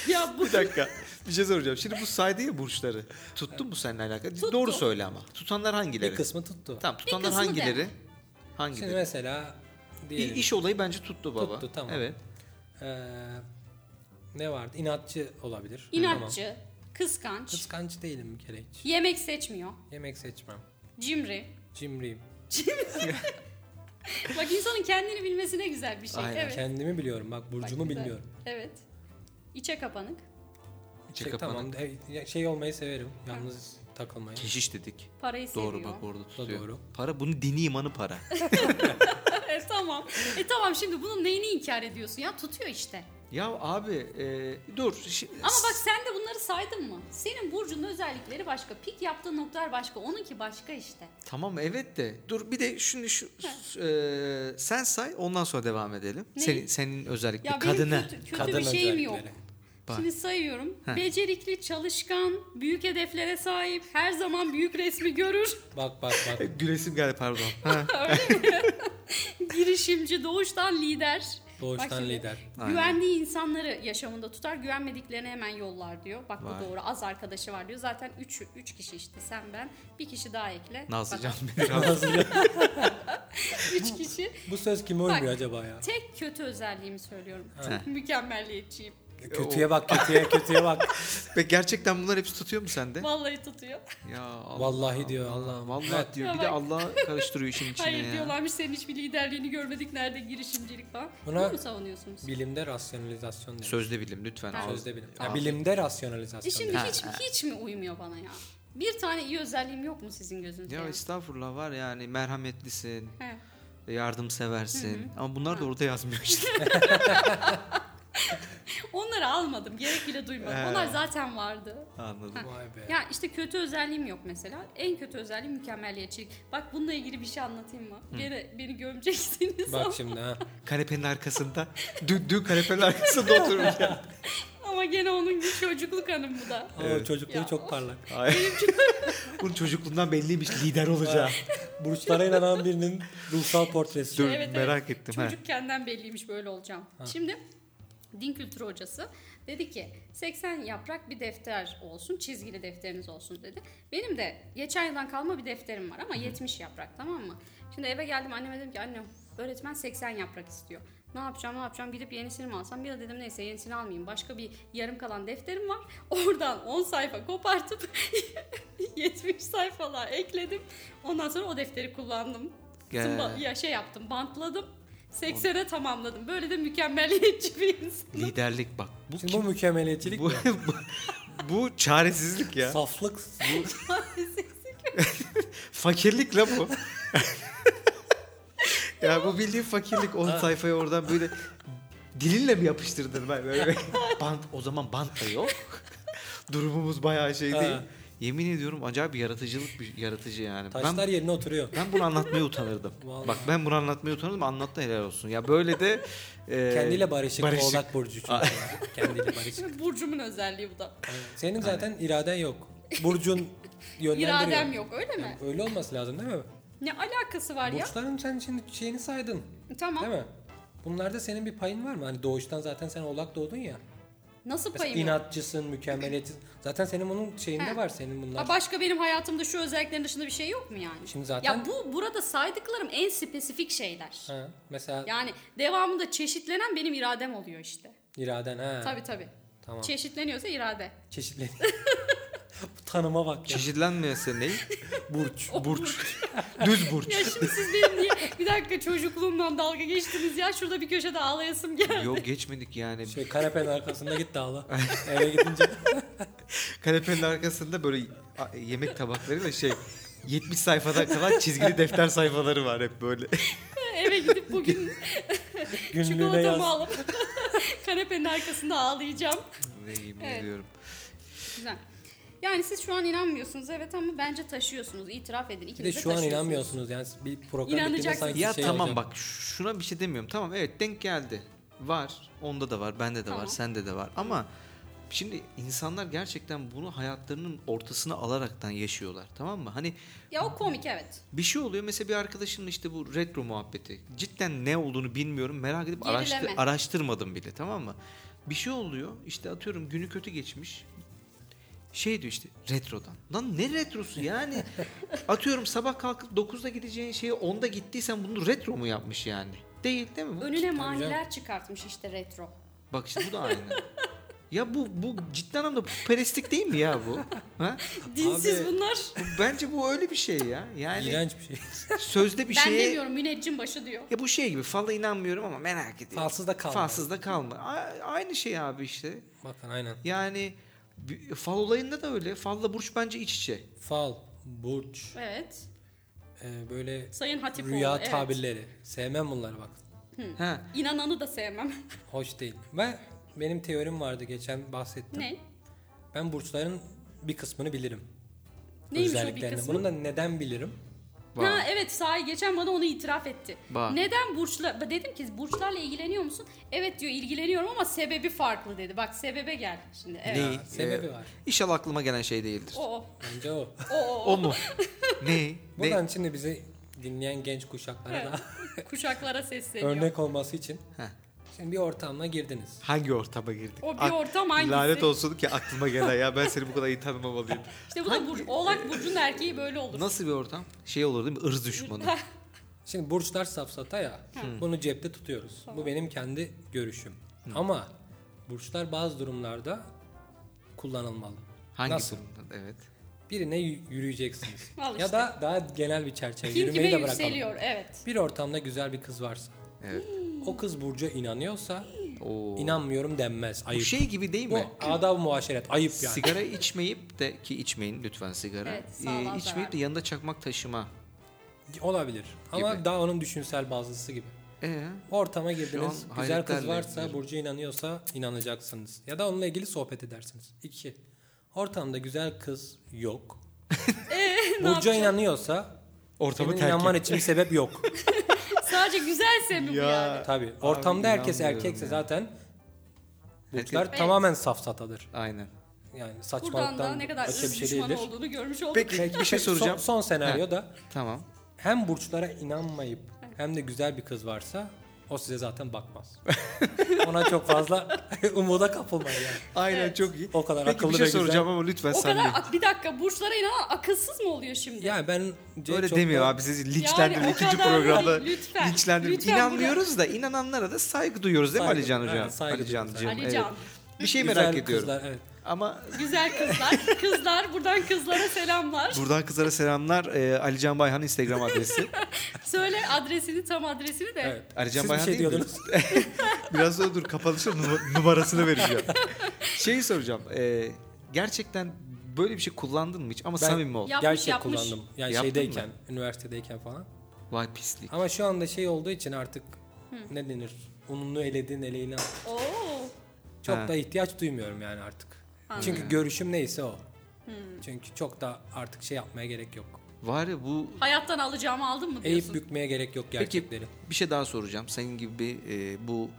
S1: Ya bu
S2: Bir dakika. Bir şey soracağım. Şimdi bu saydı ya burçları. Tuttun mu seninle alakalı?
S1: Tuttum.
S2: Doğru söyle ama. Tutanlar hangileri?
S3: bir kısmı tuttu.
S2: Tamam tutanlar
S1: kısmı de.
S2: hangileri? Hangi
S3: Şimdi
S2: biri?
S3: mesela
S2: İ-
S3: diyelim
S2: İş olayı bence tuttu baba.
S3: Tuttu, tamam.
S2: Evet.
S3: eee, Ee, ne vardı? İnatçı olabilir. Hani
S1: İnatçı,
S3: Tamam.
S1: kıskanç,
S3: Kıskanç değilim bir kere hiç.
S1: yemek seçmiyor,
S3: Yemek seçmem.
S1: cimri.
S3: Cimriyim.
S1: Bak insanın kendini bilmesi ne güzel bir şey.
S2: Aynen.
S1: Evet.
S3: Kendimi biliyorum. Bak
S1: Bak,
S3: burcumu
S1: güzel.
S3: bilmiyorum.
S1: Evet. İçe kapanık,
S2: İçe
S3: Şey,
S2: kapanık.
S3: tamam. e, Şey olmayı severim. Yalnız takılmayı.
S2: Keşiş dedik.
S1: parayı
S2: Doğru
S1: seviyor.
S2: bak orada tutuyor.
S3: doğru.
S2: Para bunu dini imanı para.
S1: e, tamam. E tamam şimdi bunun neyini inkar ediyorsun ya? Tutuyor işte.
S2: ya abi e, dur. şi-
S1: Ama bak sen de bunları saydın mı? Senin burcunun özellikleri başka, pik yaptığı noktalar başka, onunki başka işte.
S2: Tamam evet de dur bir de şunu şu e, sen say ondan sonra devam edelim.
S1: Neyi?
S2: Senin senin özellikle
S1: Ya benim
S2: E, kadını.
S1: kötü, kötü bir şeyim yok.
S3: özellikleri.
S2: Bak.
S1: Şimdi sayıyorum.
S2: Heh.
S1: Becerikli, çalışkan, büyük hedeflere sahip, her zaman büyük resmi görür,
S3: Bak bak bak.
S2: E, Gülesim geldi pardon. Ha,
S1: girişimci, doğuştan lider. Bak
S3: Doğuştan
S1: şimdi,
S3: lider.
S2: Aynen.
S1: Güvendiği insanları yaşamında tutar, güvenmediklerini hemen yollar diyor. Bak
S2: Vay.
S1: bu doğru. Az arkadaşı var diyor. Zaten 3 3 kişi işte sen ben. Bir kişi daha ekle.
S2: Nazlıcan
S1: Bak,
S2: beni rahatsız-
S1: 3 kişi.
S3: Bu söz kime
S1: Bak.
S3: uymuyor acaba ya?
S1: Tek kötü özelliğimi söylüyorum.
S2: Ha.
S1: Mükemmelliyetçiyim.
S3: Kötüye bak kötüye kötüye bak.
S2: Ve gerçekten bunlar hepsi tutuyor mu sende?
S1: Vallahi tutuyor.
S2: Ya Allah,
S3: Vallahi diyor.
S2: Allah, vallahi
S3: Evet.
S2: diyor. Bir
S1: Bak.
S2: de Allah karıştırıyor işin içine
S1: Hayır
S2: ya.
S1: diyorlarmış senin hiçbir liderliğini görmedik. Nerede girişimcilik falan.
S3: Buna-
S1: Bunu mu savunuyorsunuz? E
S3: Bilimde rasyonalizasyon deniyor.
S2: Sözde bilim lütfen.
S1: Ha.
S2: Ağız-
S3: Sözde bilim. Ya
S2: ağız-
S3: bilimde
S1: E
S3: rasyonalizasyon.
S1: şimdi
S2: Ha,
S1: hiç, hiç mi uymuyor bana ya? Bir tane iyi özelliğim yok mu sizin gözünüzde?
S2: Ya
S1: ya?
S2: estağfurullah var yani merhametlisin,
S1: He.
S2: yardımseversin. Ama bunlar da
S1: Ha.
S2: orada yazmıyor işte.
S1: Onları almadım. Gerek bile duymadım.
S2: He.
S1: Onlar zaten vardı.
S2: Anladım.
S3: Vay be.
S1: Ya işte kötü özelliğim yok mesela. En kötü özelliğim mükemmeliyetçilik. Bak bununla ilgili bir şey anlatayım mı? Gene beni gömeceksiniz ama,
S3: Bak şimdi ha.
S2: Kanepenin arkasında, dün, dün kanepenin arkasında oturmuş.
S1: ama gene onun bir çocukluk hanım bu da.
S3: Aa,
S2: Evet.
S3: Çocukluğu
S1: Ya.
S3: çok parlak.
S2: Bunun çocukluğundan belliymiş lider olacağı.
S3: Burçlara inanan birinin ruhsal portresi.
S2: Dur
S1: Evet, evet.
S2: merak ettim. ha.
S1: Çocukkenden belliymiş böyle olacağım. Şimdi din kültürü hocası dedi ki 80 yaprak bir defter olsun, çizgili defteriniz olsun dedi. Benim de geçen yıldan kalma bir defterim var ama 70 yaprak tamam mı? Şimdi eve geldim anneme dedim ki annem öğretmen 80 yaprak istiyor. Ne yapacağım ne yapacağım gidip yenisini mi alsam? Bir de dedim neyse yenisini almayayım. Başka bir yarım kalan defterim var. Oradan 10 sayfa kopartıp 70 sayfalar ekledim. Ondan sonra o defteri kullandım.
S2: Gel.
S1: Zımba- ya şey yaptım bantladım. 80'e tamamladım. Böyle de mükemmeliyetçi bir insan.
S2: Liderlik bak. Bu
S3: Şimdi bu
S2: kim?
S3: mükemmeliyetçilik
S2: Bu,
S3: mi?
S2: bu, bu çaresizlik ya.
S3: Saflık. Bu
S2: Fakirlik la bu. ya bu bildiğin fakirlik 10 sayfayı oradan böyle dilinle mi yapıştırdın ben böyle bant o zaman bant da yok. Durumumuz bayağı şey
S3: Ha.
S2: değil. Yemin ediyorum acayip bir yaratıcılık bir yaratıcı yani.
S3: taşlar
S2: Ben
S3: yerine oturuyor.
S2: ben bunu anlatmaya utanırdım.
S3: Vallahi.
S2: Bak ben bunu anlatmaya utanırdım. Anlat da helal olsun. Ya böyle de e,
S3: Kendiyle barışık,
S2: barışık.
S3: oğlak burcu çünkü. yani. Kendiyle barışık.
S1: Burcumun özelliği bu da.
S3: Senin zaten iraden yok. Burcun yönlendiriyor.
S1: İradem yok öyle mi?
S3: Öyle olması lazım değil mi?
S1: Ne alakası var ya?
S3: Burçların sen şimdi şeyini saydın.
S1: Tamam.
S3: Değil mi? Bunlarda senin bir payın var mı? Hani doğuştan zaten sen oğlak doğdun ya.
S1: Nasıl
S3: Mesela
S1: payım yok?
S3: inatçısın, mükemmeliyetçisin. Zaten senin bunun şeyinde
S1: He.
S3: var senin bunlar.
S1: Ha, başka benim hayatımda şu özelliklerin dışında bir şey yok mu yani?
S3: Şimdi zaten-
S1: Ya bu burada saydıklarım en spesifik şeyler.
S3: Ha, mesela
S1: Yani devamında çeşitlenen benim iradem oluyor işte.
S3: iraden ha.
S1: Tabii tabii.
S3: Tamam.
S1: Çeşitleniyorsa irade.
S3: Çeşitli. Bu Tanıma bak ya.
S2: çeşitlenmiyorsa ne?
S3: Burç.
S2: Burç. Düz burç.
S1: Ya şimdi siz benim niye bir dakika çocukluğumdan dalga geçtiniz ya şurada bir köşede ağlayasım geldi.
S2: Yok geçmedik yani.
S3: Şey kanepenin arkasında git dağla. Eve gidince
S2: Kanepenin arkasında böyle a- yemek tabaklarıyla şey 70 sayfada kalan çizgili defter sayfaları var hep böyle.
S1: Eve gidip bugün
S3: günlüğüne yaz.
S1: çikolatamı alıp kanepenin arkasında ağlayacağım.
S2: Ne yemin
S1: Evet.
S2: ediyorum.
S1: Güzel. Yani siz şu an inanmıyorsunuz evet ama bence taşıyorsunuz. İtiraf edin.
S3: Bir
S1: İkiniz
S3: de
S1: de,
S3: şu an
S1: taşıyorsunuz.
S3: inanmıyorsunuz yani bir program
S1: İnanacaksınız.
S3: bittiğinde sanki
S2: Ya
S3: şey
S2: tamam
S3: olacak.
S2: bak şuna bir şey demiyorum. Tamam evet denk geldi. Var. Onda da var. Bende de var.
S1: Tamam.
S2: Sende de var. Ama şimdi insanlar gerçekten bunu hayatlarının ortasına alaraktan yaşıyorlar. Tamam mı? Hani
S1: Ya o komik evet.
S2: bir şey oluyor mesela bir arkadaşımın işte bu retro muhabbeti. Cidden ne olduğunu bilmiyorum. Merak edip araştı-
S1: Gerileme.
S2: araştırmadım bile tamam mı? Bir şey oluyor işte atıyorum günü kötü geçmiş. Şey diyor işte retrodan. Lan ne retrosu yani? Atıyorum sabah kalkıp 9'da gideceğin şeyi 10'da gittiysen bunu retro mu yapmış yani? Değil değil mi? bu?
S1: Önüne maniler çıkartmış işte retro.
S2: Bak işte bu da aynı. ya bu bu ciddi anlamda perestlik değil mi ya bu? Ha?
S1: Dinsiz
S3: Abi,
S1: bunlar.
S2: Bu- Bence bu öyle bir şey ya. Yani
S3: İğrenç bir şey.
S2: sözde bir
S1: ben
S2: şeye
S1: demiyorum müneccin başı diyor.
S2: ya bu şey gibi falla inanmıyorum ama merak ediyorum.
S3: Falsız da kalma.
S2: Falsız da kalma. A- aynı şey abi işte.
S3: Bakın aynen.
S2: Yani bir- fal olayında da öyle. Falla burç bence iç içe.
S3: Fal, burç,
S1: Evet.
S3: e, böyle
S1: Sayın Hatipoğlu.
S3: rüya
S1: evet.
S3: tabirleri. Sevmem bunları bak.
S2: Ha.
S1: İnananı da sevmem.
S3: Hoş değil. Ve benim teorim vardı geçen bahsettim.
S1: ne?
S3: Ben burçların bir kısmını bilirim.
S1: Neymiş o bir
S3: Özelliklerini.
S1: kısmı?
S3: Bunu da neden bilirim?
S2: Vay.
S1: Ha evet sahi geçen bana onu itiraf etti.
S2: Bak.
S1: Neden burçla Ba- dedim ki burçlarla ilgileniyor musun? Evet diyor ilgileniyorum ama sebebi farklı dedi. Bak sebebe gel şimdi. Evet.
S2: Neyi?
S3: sebebi
S2: Ee,
S3: var.
S2: İnşallah aklıma gelen şey değildir.
S1: O o.
S3: Bence o.
S1: O o.
S2: O mu? ne? ne?
S3: Buradan şimdi bizi dinleyen genç kuşaklara da
S1: Kuşaklara sesleniyor.
S3: örnek olması için.
S2: Heh.
S3: Şimdi bir ortamına girdiniz.
S2: Hangi ortama girdik?
S1: O bir
S2: Ak-
S1: ortam hangisi?
S2: Lanet olsun ki aklıma gelen ya ben seni bu kadar iyi tanımamalıyım.
S1: İşte bu da Burcu. Oğlak Burcu'nun erkeği böyle olur.
S2: Nasıl bir ortam? Şey olur değil mi? Irz düşmanı.
S3: Şimdi burçlar safsata ya. Bunu cepte tutuyoruz. Bu benim kendi görüşüm. Ama burçlar bazı durumlarda kullanılmalı.
S2: Hangi
S3: Nasıl?
S2: durumda? Evet.
S3: Birine y- yürüyeceksiniz.
S1: Al
S3: Ya
S1: işte.
S3: da daha genel bir
S1: Kim
S3: çerçeve
S1: kime
S3: yürümeyi de bırakalım.
S1: yükseliyor evet.
S3: Bir ortamda güzel bir kız varsa.
S2: Evet.
S3: O kız burca inanıyorsa
S2: Oo.
S3: inanmıyorum denmez.
S2: Bu
S3: Ayıp.
S2: şey gibi değil
S3: Bu
S2: mi?
S3: adab muaşeret. Ayıp yani.
S2: Sigara içmeyip de ki içmeyin lütfen sigara. e,
S1: Evet, sağlığa zararlı.
S2: içmeyip de yanında çakmak taşıma.
S3: Olabilir. Ama
S2: Gibi.
S3: daha onun düşünsel bazısı gibi.
S2: Ee,
S3: Ortama
S2: Şu
S3: girdiniz.
S2: an
S3: Güzel kız
S2: hayretlerle
S3: varsa,
S2: izliyorum.
S3: Burcu inanıyorsa inanacaksınız. Ya da onunla ilgili sohbet edersiniz. İki. Ortamda güzel kız yok.
S1: Ee,
S3: Burcu inanıyorsa
S2: Ortamı
S3: senin
S2: terk
S3: inanman
S2: et.
S3: için bir sebep yok.
S1: Sadece güzelse mi bu
S2: Ya.
S1: yani?
S3: Tabii. Ortamda herkes
S2: inanmıyorum
S3: erkekse
S2: ya.
S3: zaten burçlar
S2: Herkes-
S1: Evet.
S3: tamamen safsatadır.
S2: aynen.
S3: Yani
S1: Buradan da
S3: saçmalıktan
S1: ne kadar
S3: başka bir
S1: ırz
S3: şey
S1: düşmanı
S3: değildir.
S1: olduğunu görmüş olduk.
S2: Peki bir şey soracağım.
S3: Son, son senaryoda
S2: Tamam.
S3: hem burçlara inanmayıp hem de güzel bir kız varsa o size zaten bakmaz. Ona çok fazla umuda kapılmayın yani.
S2: Aynen
S1: Evet.
S2: çok iyi.
S3: O kadar
S2: Peki
S3: akıllı
S2: bir şey
S3: ve güzel.
S2: soracağım ama lütfen
S1: O
S2: samimi.
S1: kadar bir dakika burçlara inanan akılsız mı oluyor şimdi?
S3: Yani ben
S2: Öyle
S3: çok
S2: demiyor
S3: da-
S2: abi sizi linçlendirin
S1: o
S2: ikinci
S1: kadar
S2: programda.
S1: değil, lütfen.
S2: Linçlendirin.
S1: Lütfen
S2: İnanmıyoruz da inananlara da saygı duyuyoruz değil mi
S3: Saygı-
S2: Alican
S3: evet,
S2: Hocam?
S3: saygı
S2: Alican
S3: duyuyoruz.
S2: Cem,
S1: Ali
S2: evet.
S1: Can.
S2: Bir şey
S3: Güzel
S2: merak ediyorum.
S3: Kızlar, evet.
S2: Ama
S1: Güzel kızlar, kızlar buradan kızlara selamlar.
S2: buradan kızlara selamlar. Ee, Ali Can Bayhan'ın Instagram adresi.
S1: Söyle adresini tam adresini de.
S3: Evet.
S2: Ali Can
S3: Siz bir
S2: Bayhan
S3: şey
S2: değil mi?
S3: diyordunuz.
S2: Biraz sonra dur kapanışta num- numarasını vereceğim. Şeyi soracağım. ee, gerçekten böyle bir şey kullandın mı hiç? Ama
S3: Ben-
S2: samimi ol.
S1: Ya- Yapmış,
S3: Gerçek
S1: yapmış.
S3: kullandım. Yani
S2: Yaptın
S3: şeydeyken, üniversitedeyken falan.
S2: Vay pislik.
S3: Ama şu anda şey olduğu için artık ne denir? Ununu eledin eleğini al.
S1: Oo.
S3: Çok
S2: Ha.
S3: da ihtiyaç duymuyorum yani artık. Çünkü görüşüm neyse o. Çünkü çok da artık şey yapmaya gerek yok.
S2: Var ya bu
S1: Hayattan alacağımı aldın mı diyorsun?
S3: Eğip bükmeye gerek yok
S2: Peki
S3: gerçekleri.
S2: bir şey daha soracağım. Senin gibi e, bu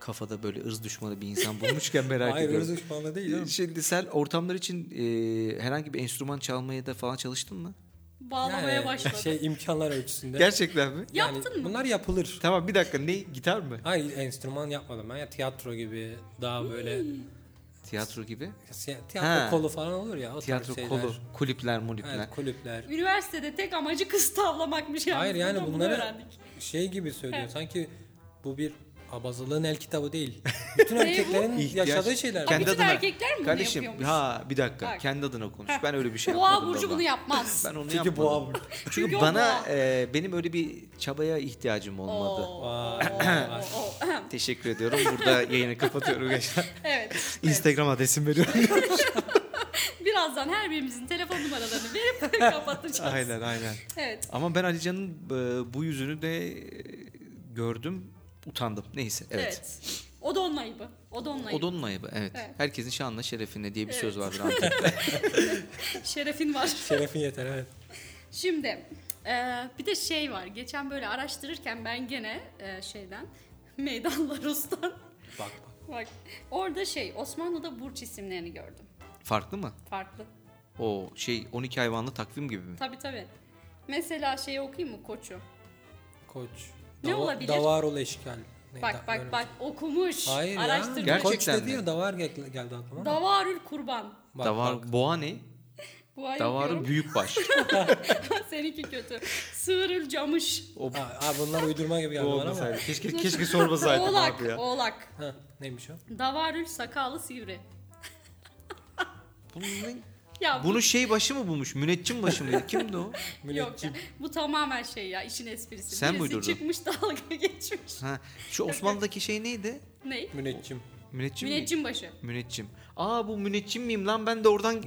S2: kafada böyle ırz düşmanı bir insan bulmuşken merak
S3: Hayır
S2: ediyorum.
S3: hırsız düşmanlığı değil oğlum.
S2: Şimdi sen ortamlar için e, herhangi bir enstrüman çalmaya da falan çalıştın mı?
S1: Bağlamaya
S3: Yani
S1: başladı.
S3: Şey imkanlar ölçüsünde.
S2: Gerçekten mi?
S3: Yani
S1: Yaptın mı?
S3: Bunlar yapılır.
S2: Tamam bir dakika ne gitar mı?
S3: Hayır enstrüman yapmadım ben ya tiyatro gibi daha böyle
S1: Hmm.
S2: Tiyatro gibi.
S3: si- tiyatro
S2: Ha.
S3: kolu falan olur ya o tarz
S2: Tiyatro
S3: şeyler.
S2: kolu, kulüpler, mulüpler.
S3: Evet, kulüpler.
S1: Üniversitede tek amacı kız tavlamakmış yani.
S3: Hayır yani
S1: Buradan bunu
S3: bunları
S1: öğrendik.
S3: şey gibi söylüyor sanki bu bir abazılığın el kitabı değil. Bütün erkeklerin
S2: İhtiyaç-
S3: yaşadığı şeyler.
S2: Kendi
S1: Aa, bütün
S2: adına.
S1: erkekler mi bunu
S2: Kardeşim
S1: yapıyormuş?
S2: ha bir dakika
S1: Bak.
S2: kendi adına konuş. Ben öyle bir şey
S1: Boğa
S2: yapmadım.
S1: burcu
S2: baba.
S1: bunu yapmaz.
S2: Ben onu
S3: Çünkü
S2: yapmadım.
S3: boğa.
S2: Çünkü,
S1: Çünkü o
S2: bana
S1: boğa.
S2: e, benim öyle bir çabaya ihtiyacım olmadı.
S1: Oo,
S3: Vay,
S1: oo,
S3: vay.
S1: oo, oo.
S2: Teşekkür ediyorum. Burada yayını kapatıyorum gençler.
S1: evet. evet.
S2: Instagram adresimi veriyorum.
S1: Birazdan her birimizin telefon numaralarını verip kapatacağız.
S2: aynen aynen.
S1: Evet.
S2: Ama ben Alican'ın e, bu yüzünü de e, gördüm. Utandım. Neyse evet.
S1: Evet. O da onun ayıbı. O da onun ayıbı.
S2: O da onun ayıbı evet.
S1: Evet.
S2: Herkesin şanla şerefine diye bir söz
S1: Evet.
S2: vardır Antep'te.
S1: Şerefin var.
S3: Şerefin yeter evet.
S1: Şimdi e, bir de şey var. Geçen böyle araştırırken ben gene e, şeyden meydanlar ustan
S3: Bak
S1: bak orada şey Osmanlı'da burç isimlerini gördüm.
S2: Farklı mı?
S1: Farklı.
S2: O şey 12 hayvanlı takvim gibi mi?
S1: Tabii tabii. Mesela şeyi okuyayım mı koçu?
S3: koç.
S1: Ne
S3: Dava-
S1: olabilir?
S3: Davarol eşkal. Ne,
S1: Bak
S3: da-
S1: bak
S3: böyle-
S1: bak okumuş.
S3: Hayır ya.
S1: araştırmış.
S2: Gerçek-
S3: Koç
S2: Gerçekten
S3: dedi
S2: mi?
S3: ya davar gel- geldi aklıma. ama.
S1: Davarül kurban.
S3: Bak,
S2: Davar
S3: bak.
S2: boğa ne?
S1: Bu ay
S2: Davarın
S1: yapıyorum.
S2: büyük baş.
S1: Seninki kötü. Sığırıl camış.
S2: O
S3: Aa, aa, bunlar uydurma gibi geldi
S2: bu
S3: bana ama.
S2: olmasaydı. Keşke keşke sormasaydım
S1: oğlak,
S2: abi ya.
S1: oğlak.
S3: Ha, neymiş o?
S1: Davarül sakalı sivri.
S2: Bunun ne-
S1: Ya bu,
S2: Bunu şey başı mı bulmuş? Müneccim başı mıydı? Kimdi o?
S1: yok ya.
S3: Müneccim.
S1: Bu tamamen şey ya işin esprisi.
S2: Sen mi
S1: Birisi
S2: uydurdun?
S1: çıkmış dalga geçmiş.
S2: Ha, şu Osmanlı'daki şey neydi?
S1: ne?
S3: Müneccim.
S2: Müneccim. mi?
S1: Müneccin başı.
S2: Müneccim. Aa bu müneccim miyim lan ben de oradan...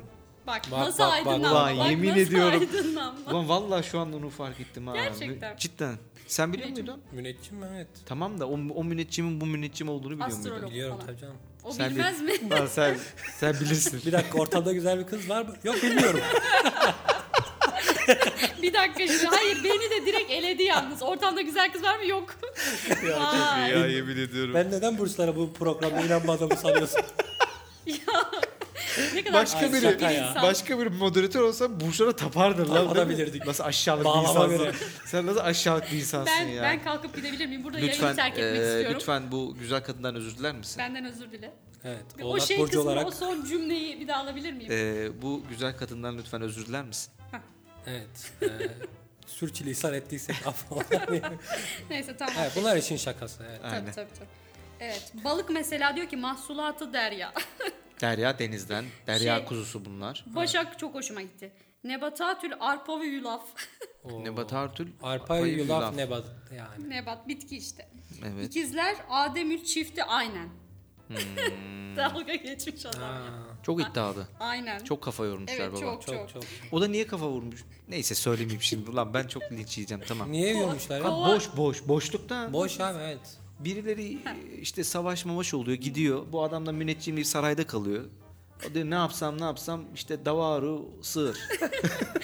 S1: Bak,
S3: Bak,
S1: nasıl
S3: bak, bak.
S1: aydınlanma.
S2: Ulan
S1: bak,
S2: yemin
S1: nasıl
S2: ediyorum.
S1: aydınlanma.
S2: Ulan vallahi şu an onu fark ettim ha.
S1: Gerçekten.
S2: Mü- Cidden. Sen biliyor
S1: Müneccim.
S2: muydun?
S3: Müneccim mi? Evet.
S2: Tamam da o, o müneccinin bu müneccim olduğunu biliyor
S1: Astrolog.
S2: muydun?
S1: Yok
S3: Biliyorum
S1: falan.
S3: tabii canım.
S1: O
S2: Sen
S1: bilmez mi?
S2: Lan sen, sen bilirsin.
S3: Bir dakika ortada güzel bir kız var mı? Yok bilmiyorum.
S1: bir dakika şimdi. Hayır beni de direkt eledi yalnız. Ortamda güzel kız var mı? Yok. Vay.
S2: ya yemin ediyorum.
S3: Ben neden burslara bu programda inanmadığımı sanıyorsun?
S1: Ne kadar
S2: Başka
S1: şaka
S3: Ay,
S2: biri,
S3: şaka ya.
S1: insan.
S2: başka bir moderatör olsam Burçlara tapardın lan. değil mi?
S3: Tapabilirdik.
S2: Nasıl aşağılık bir
S3: Bağlama
S2: insansın.
S3: göre.
S2: Sen nasıl aşağılık bir insansın
S1: Ben,
S2: ya.
S1: ben kalkıp gidebilir miyim? Burada
S2: lütfen,
S1: yayını terk etmek
S2: eee,
S1: istiyorum.
S2: lütfen bu güzel kadından özür diler misin?
S1: Benden özür dile.
S3: Evet.
S1: Bir
S3: Oğlak
S1: o şey
S3: burcu
S1: kısmı,
S3: olarak.
S1: o son cümleyi bir daha alabilir miyim?
S2: Eee, bu güzel kadından lütfen özür diler misin?
S3: Evet. E, sürçülisan ettiysek affola.
S1: Neyse tamam.
S3: evet, bunlar için şakası. Evet.
S1: Tabii, tabii, tabii. Evet. Balık mesela diyor ki mahsulatı derya.
S2: Derya denizden, derya
S1: Şey-
S2: kuzusu bunlar.
S1: Başak çok hoşuma gitti. Nebatatül arpa ve yulaf.
S3: Oo.
S2: Nebat Artül.
S3: Arpa
S2: Arpayı
S3: yulaf
S2: yulaf.
S3: nebat yani.
S1: Nebat bitki işte.
S2: Evet.
S1: İkizler Ademül çifti aynen. Dalga geçmiş adam.
S3: Aa,
S2: Çok iddialı.
S1: Aynen.
S2: Hmm. Çok kafa yormuşlar
S1: evet
S2: baba.
S1: çok
S3: çok
S1: çok.
S3: çok.
S2: O da niye kafa vurmuş? Neyse söylemeyeyim şimdi. Ulan ben çok linç yiyeceğim tamam.
S3: Niye yiyormuşlar ya?
S2: Ha, boş boş boşlukta.
S3: Boş abi evet.
S2: Birileri işte savaş mavaş oluyor gidiyor. Bu adam da müneccim bir sarayda kalıyor. O diyor ne yapsam ne yapsam işte davaru sığır.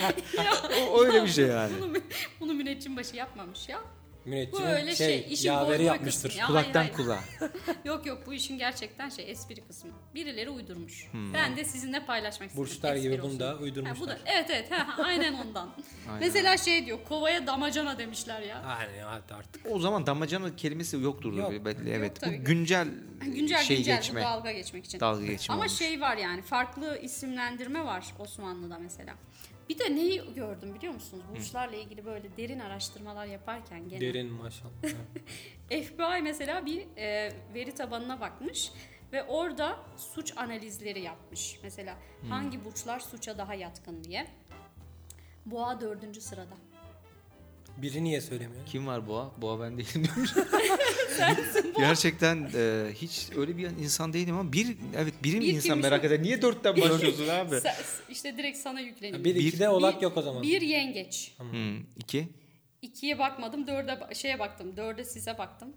S2: o, öyle bir şey yani.
S1: Bunu, bunu müneccim başı yapmamış ya.
S3: Müneccim
S1: Bu öyle şey,
S3: şey
S1: işin
S3: yaveri
S1: boynu
S3: yapmıştır.
S1: kısmı ya. hayır,
S2: Kulaktan
S1: hayır.
S2: kulağa.
S1: Yok yok bu işin gerçekten şey espri kısmı. Birileri uydurmuş.
S2: Hmm.
S1: Ben de sizinle paylaşmak istedim.
S3: Burçlar
S1: Espri
S3: gibi bunu
S1: olsun.
S3: da
S1: Ha, bu
S3: uydurmuşlar.
S1: da, evet evet ha, ha, aynen ondan.
S2: Aynen.
S1: Mesela şey diyor kovaya damacana demişler ya.
S3: Yani evet artık.
S2: O zaman damacana kelimesi yoktur.
S3: Yok.
S2: Belli, evet.
S1: tabii
S2: Bu
S1: ki.
S2: güncel,
S1: Hani Güncel
S2: şey
S1: güncel
S2: geçme.
S1: bu dalga geçmek için.
S2: Dalga geçme
S1: Ama
S2: olmuş.
S1: şey var yani farklı isimlendirme var Osmanlı'da mesela. Bir de neyi gördüm biliyor musunuz? Burçlarla ilgili böyle derin araştırmalar yaparken gene.
S3: Derin maşallah.
S1: FBI mesela bir e, veri tabanına bakmış ve orada suç analizleri yapmış. Mesela hangi burçlar suça daha yatkın diye. Boğa dördüncü sırada.
S3: Biri niye söylemiyor?
S2: Kim var boğa? Boğa ben değilim diyormuş. Gerçekten e, hiç öyle bir insan değilim ama bir evet birim
S1: Bir
S2: insan
S1: kimmiş?
S2: merak eder. Niye dörtten başlıyorsun abi?
S1: Sen- işte direkt sana yükleniyor.
S3: Bir,
S2: Bir-
S3: ikide olak
S1: Bir-
S3: yok o zaman.
S1: Bir yengeç.
S2: Hmm, iki.
S1: İkiye bakmadım, dörde ba- şeye baktım, dörde size baktım.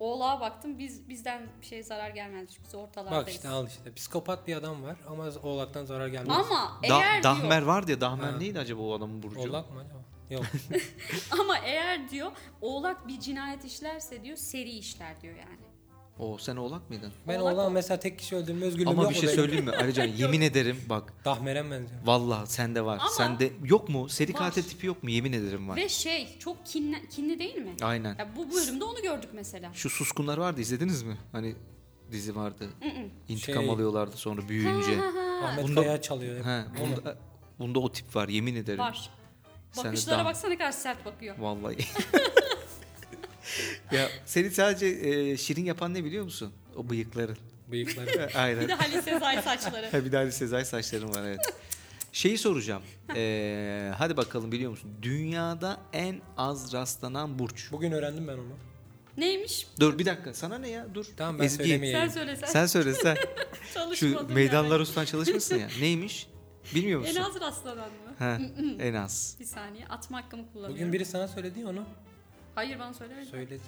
S1: Oğlağa baktım, biz bizden bir şey zarar gelmez. Biz ortalardayız.
S3: Bak işte al işte. Psikopat bir adam var ama oğlaktan zarar gelmez.
S1: ama
S2: Da-
S1: eğer
S2: Dahmer
S1: diyor,
S2: vardı ya Dahmer
S3: Ha.
S2: neydi acaba o adamın burcu?
S3: Oğlak mı acaba? Yok.
S1: ama eğer diyor oğlak bir cinayet işlerse diyor seri işler diyor yani.
S2: O sen oğlak mıydın?
S3: Ben
S1: Oğlak
S3: oğlan mesela tek kişi öldürme özgürlüğüm
S2: Ama
S3: yok
S2: bir şey
S3: mu benim?
S2: söyleyeyim mi Alican? Yemin ederim bak.
S3: Dahmeren benziyor.
S2: Vallahi sende var.
S1: Ama-
S2: sende yok mu? Seri
S1: Var.
S2: katil tipi yok mu? Yemin ederim var.
S1: Ve şey çok kinli, kinli değil mi?
S2: Aynen.
S1: Ya bu bölümde onu gördük mesela.
S2: Şu suskunlar vardı izlediniz mi? Hani dizi vardı. İntikam
S3: Şey-
S2: alıyorlardı sonra büyüyünce.
S3: Ahmet
S2: Bunda-
S3: Kaya çalıyor. hep.
S2: He, bunda, bunda o tip var yemin ederim.
S1: Var.
S2: Sen de
S1: Bakışlara
S2: dam-
S1: baksana ne kadar sert bakıyor.
S2: Vallahi. ya seni sadece e, şirin yapan ne biliyor musun? O bıyıkların.
S3: Bıyıkları.
S1: Bir
S2: Aynen.
S1: de Halil Sezai saçları.
S2: Ha, bir daha bir Sezai saçlarım var evet. Şeyi soracağım. E, hadi bakalım biliyor musun? Dünyada en az rastlanan burç.
S3: Bugün öğrendim ben onu.
S1: Neymiş?
S2: Dur bir dakika sana ne ya? Dur.
S3: Tamam ben
S2: Ezgi,
S1: Sen
S3: söylemeyeyim.
S1: söyle sen.
S2: Sen söyle sen. Şu
S1: Çalışmadın
S2: meydanlar ustan çalışmışsın ya. Neymiş? Bilmiyor
S1: yani.
S2: musun?
S1: En az rastlanan mı?
S2: Ha, en az.
S1: Bir saniye atma hakkımı kullanıyorum.
S3: Bugün biri sana söyledi onu.
S1: Hayır bana söylemedi.
S3: Söyledi.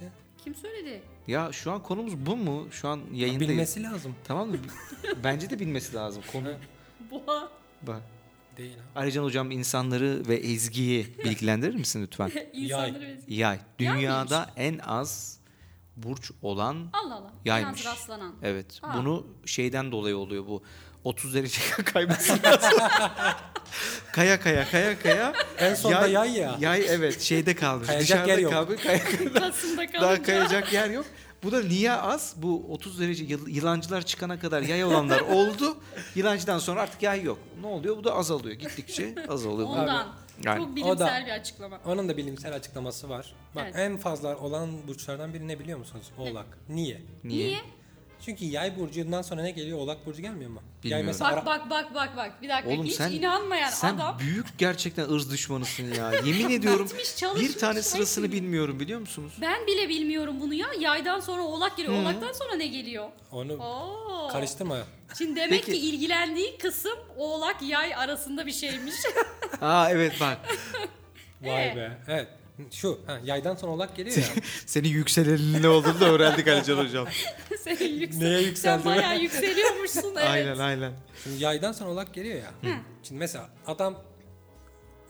S1: Kim söyledi?
S2: Ya şu an konumuz bu mu? Şu an yayındayız.
S3: Bilmesi lazım.
S2: Tamam mı? Bence de bilmesi lazım konu.
S1: Boğa.
S2: Bak.
S3: Değil ha.
S2: Alican hocam insanları ve Ezgi'yi bilgilendirir misin lütfen?
S1: İnsanları ve-
S2: Yay. Dünyada en az burç olan
S1: Allah Allah.
S2: Yaymış.
S1: En az rastlanan.
S2: evet.
S1: Aa.
S2: Bunu şeyden dolayı oluyor bu. 30 derece kayması lazım. kaya kaya kaya kaya.
S3: En sonda yay ya.
S2: Yay evet şeyde kalmış.
S3: Kayacak
S2: Dışarıda
S3: yer yok.
S2: kalmış, kay-
S1: Kasım'da
S2: daha
S1: kalınca.
S2: kayacak yer yok. Bu da niye az? Bu 30 derece yıl- yılancılar çıkana kadar yay olanlar oldu. Yılancıdan sonra artık yay yok. Ne oluyor? Bu da azalıyor. Gittikçe azalıyor. Bu-
S1: Ondan.
S2: Yani.
S1: Çok
S3: O da-
S1: bilimsel bir açıklama.
S3: Onun da bilimsel açıklaması var. Bak
S1: Evet.
S3: en fazla olan burçlardan biri ne biliyor musunuz? Oğlak. Niye?
S1: Niye?
S3: Çünkü yay burcundan sonra ne geliyor? Oğlak burcu gelmiyor mu? Yay
S2: Bilmiyorum.
S3: mesela
S1: Bak bak bak bak bak. Bir dakika
S2: Oğlum
S1: hiç
S2: sen
S1: inanmayan
S2: sen
S1: adam
S2: büyük gerçekten ırz düşmanısın ya. Yemin ediyorum
S1: Gitmiş, çalışmış,
S2: bir tane
S1: her
S2: sırasını
S1: şeyi.
S2: bilmiyorum biliyor musunuz?
S1: ben bile bilmiyorum bunu ya. Yaydan sonra oğlak geliyor. Oğlaktan sonra ne geliyor?
S3: onu
S1: Oo.
S3: karıştırma.
S1: Şimdi demek
S2: Peki.
S1: ki ilgilendiği kısım oğlak yay arasında bir şeymiş.
S2: Aa evet bak.
S3: Vay
S1: Ee?
S3: be. Evet. Şu ha, yaydan sonra oğlak geliyor ya.
S2: Senin yükselenin ne olduğunu da öğrendik Alican Hocam.
S1: Senin yüksel...
S3: Neye yükseldi
S1: Sen
S3: be?
S1: bayağı yükseliyormuşsun evet.
S2: Aynen aynen.
S3: Şimdi yaydan sonra oğlak geliyor ya. Şimdi mesela adam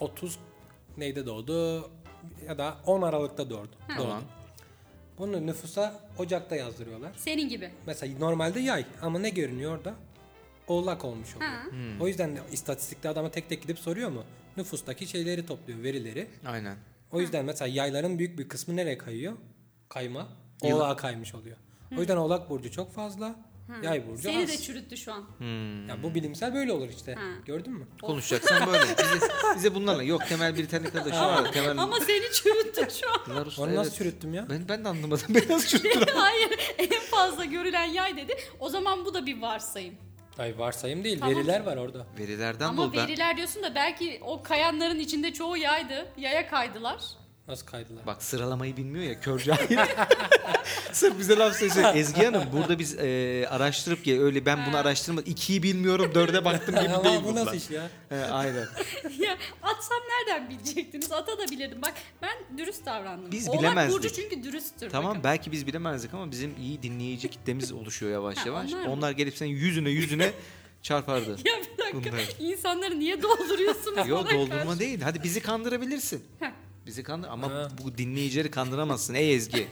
S3: 30 neyde doğdu ya da 10 Aralık'ta doğdu. doğdu.
S2: Tamam.
S3: Bunu nüfusa Ocak'ta yazdırıyorlar.
S1: Senin gibi.
S3: Mesela normalde yay ama ne görünüyor orada? Oğlak olmuş oluyor.
S1: Ha.
S2: Hmm.
S3: O yüzden de istatistikte adama tek tek gidip soruyor mu? Nüfustaki şeyleri topluyor, verileri.
S2: Aynen.
S3: O yüzden mesela yayların büyük bir kısmı nereye kayıyor? Kayma. Oğlağa kaymış oluyor. O yüzden oğlak burcu çok fazla, yay burcu
S1: Seni
S3: az.
S1: de çürüttü şu an.
S3: Ya
S2: Hmm.
S3: bu bilimsel böyle olur işte.
S1: Ha.
S3: Gördün mü?
S2: Konuşacaksan böyle. Bize, bize bunlarla. Yok Temel Britannik arkadaşı var. Temel
S1: Ama seni çürüttü şu an.
S2: Bunlar usta,
S3: Onu nasıl
S2: evet.
S3: çürüttüm ya?
S2: Ben, ben de anlamadım. Ben nasıl çürüttüm?
S1: Hayır en fazla görülen yay dedi. O zaman bu da bir varsayım.
S3: Ay varsayım değil,
S1: Tamam.
S3: veriler var orada.
S2: Verilerden
S1: Ama
S2: bul ben.
S1: veriler diyorsun da belki o kayanların içinde çoğu yaydı. Yaya kaydılar.
S3: Nasıl kaydılar?
S2: Bak sıralamayı bilmiyor ya kör cahil. Sırf bize laf söylüyor. Ezgi Hanım burada biz e, araştırıp ya öyle ben bunu araştırmadım. İkiyi bilmiyorum dörde baktım gibi
S3: Ama
S2: değil
S3: bu nasıl
S2: bunlar.
S3: iş ya?
S2: He, aynen.
S1: ya atsam nereden bilecektiniz? Ata da bilirdim. Bak ben dürüst davrandım.
S2: Biz
S1: Oğlak
S2: bilemezdik.
S1: Burcu çünkü dürüsttür.
S2: Tamam
S1: bakın.
S2: belki biz bilemezdik ama bizim iyi dinleyici kitlemiz oluşuyor yavaş
S1: Ha,
S2: yavaş.
S1: onlar
S2: Onlar,
S1: mı?
S2: gelip senin yüzüne yüzüne çarpardı.
S1: Ya bir dakika
S2: Bunlar.
S1: insanları niye dolduruyorsunuz?
S2: Yok
S1: bana
S2: doldurma
S1: karşı?
S2: değil. Hadi bizi kandırabilirsin.
S1: Heh.
S2: Bizi kandır ama
S3: Ha.
S2: bu dinleyicileri kandıramazsın ey Ezgi.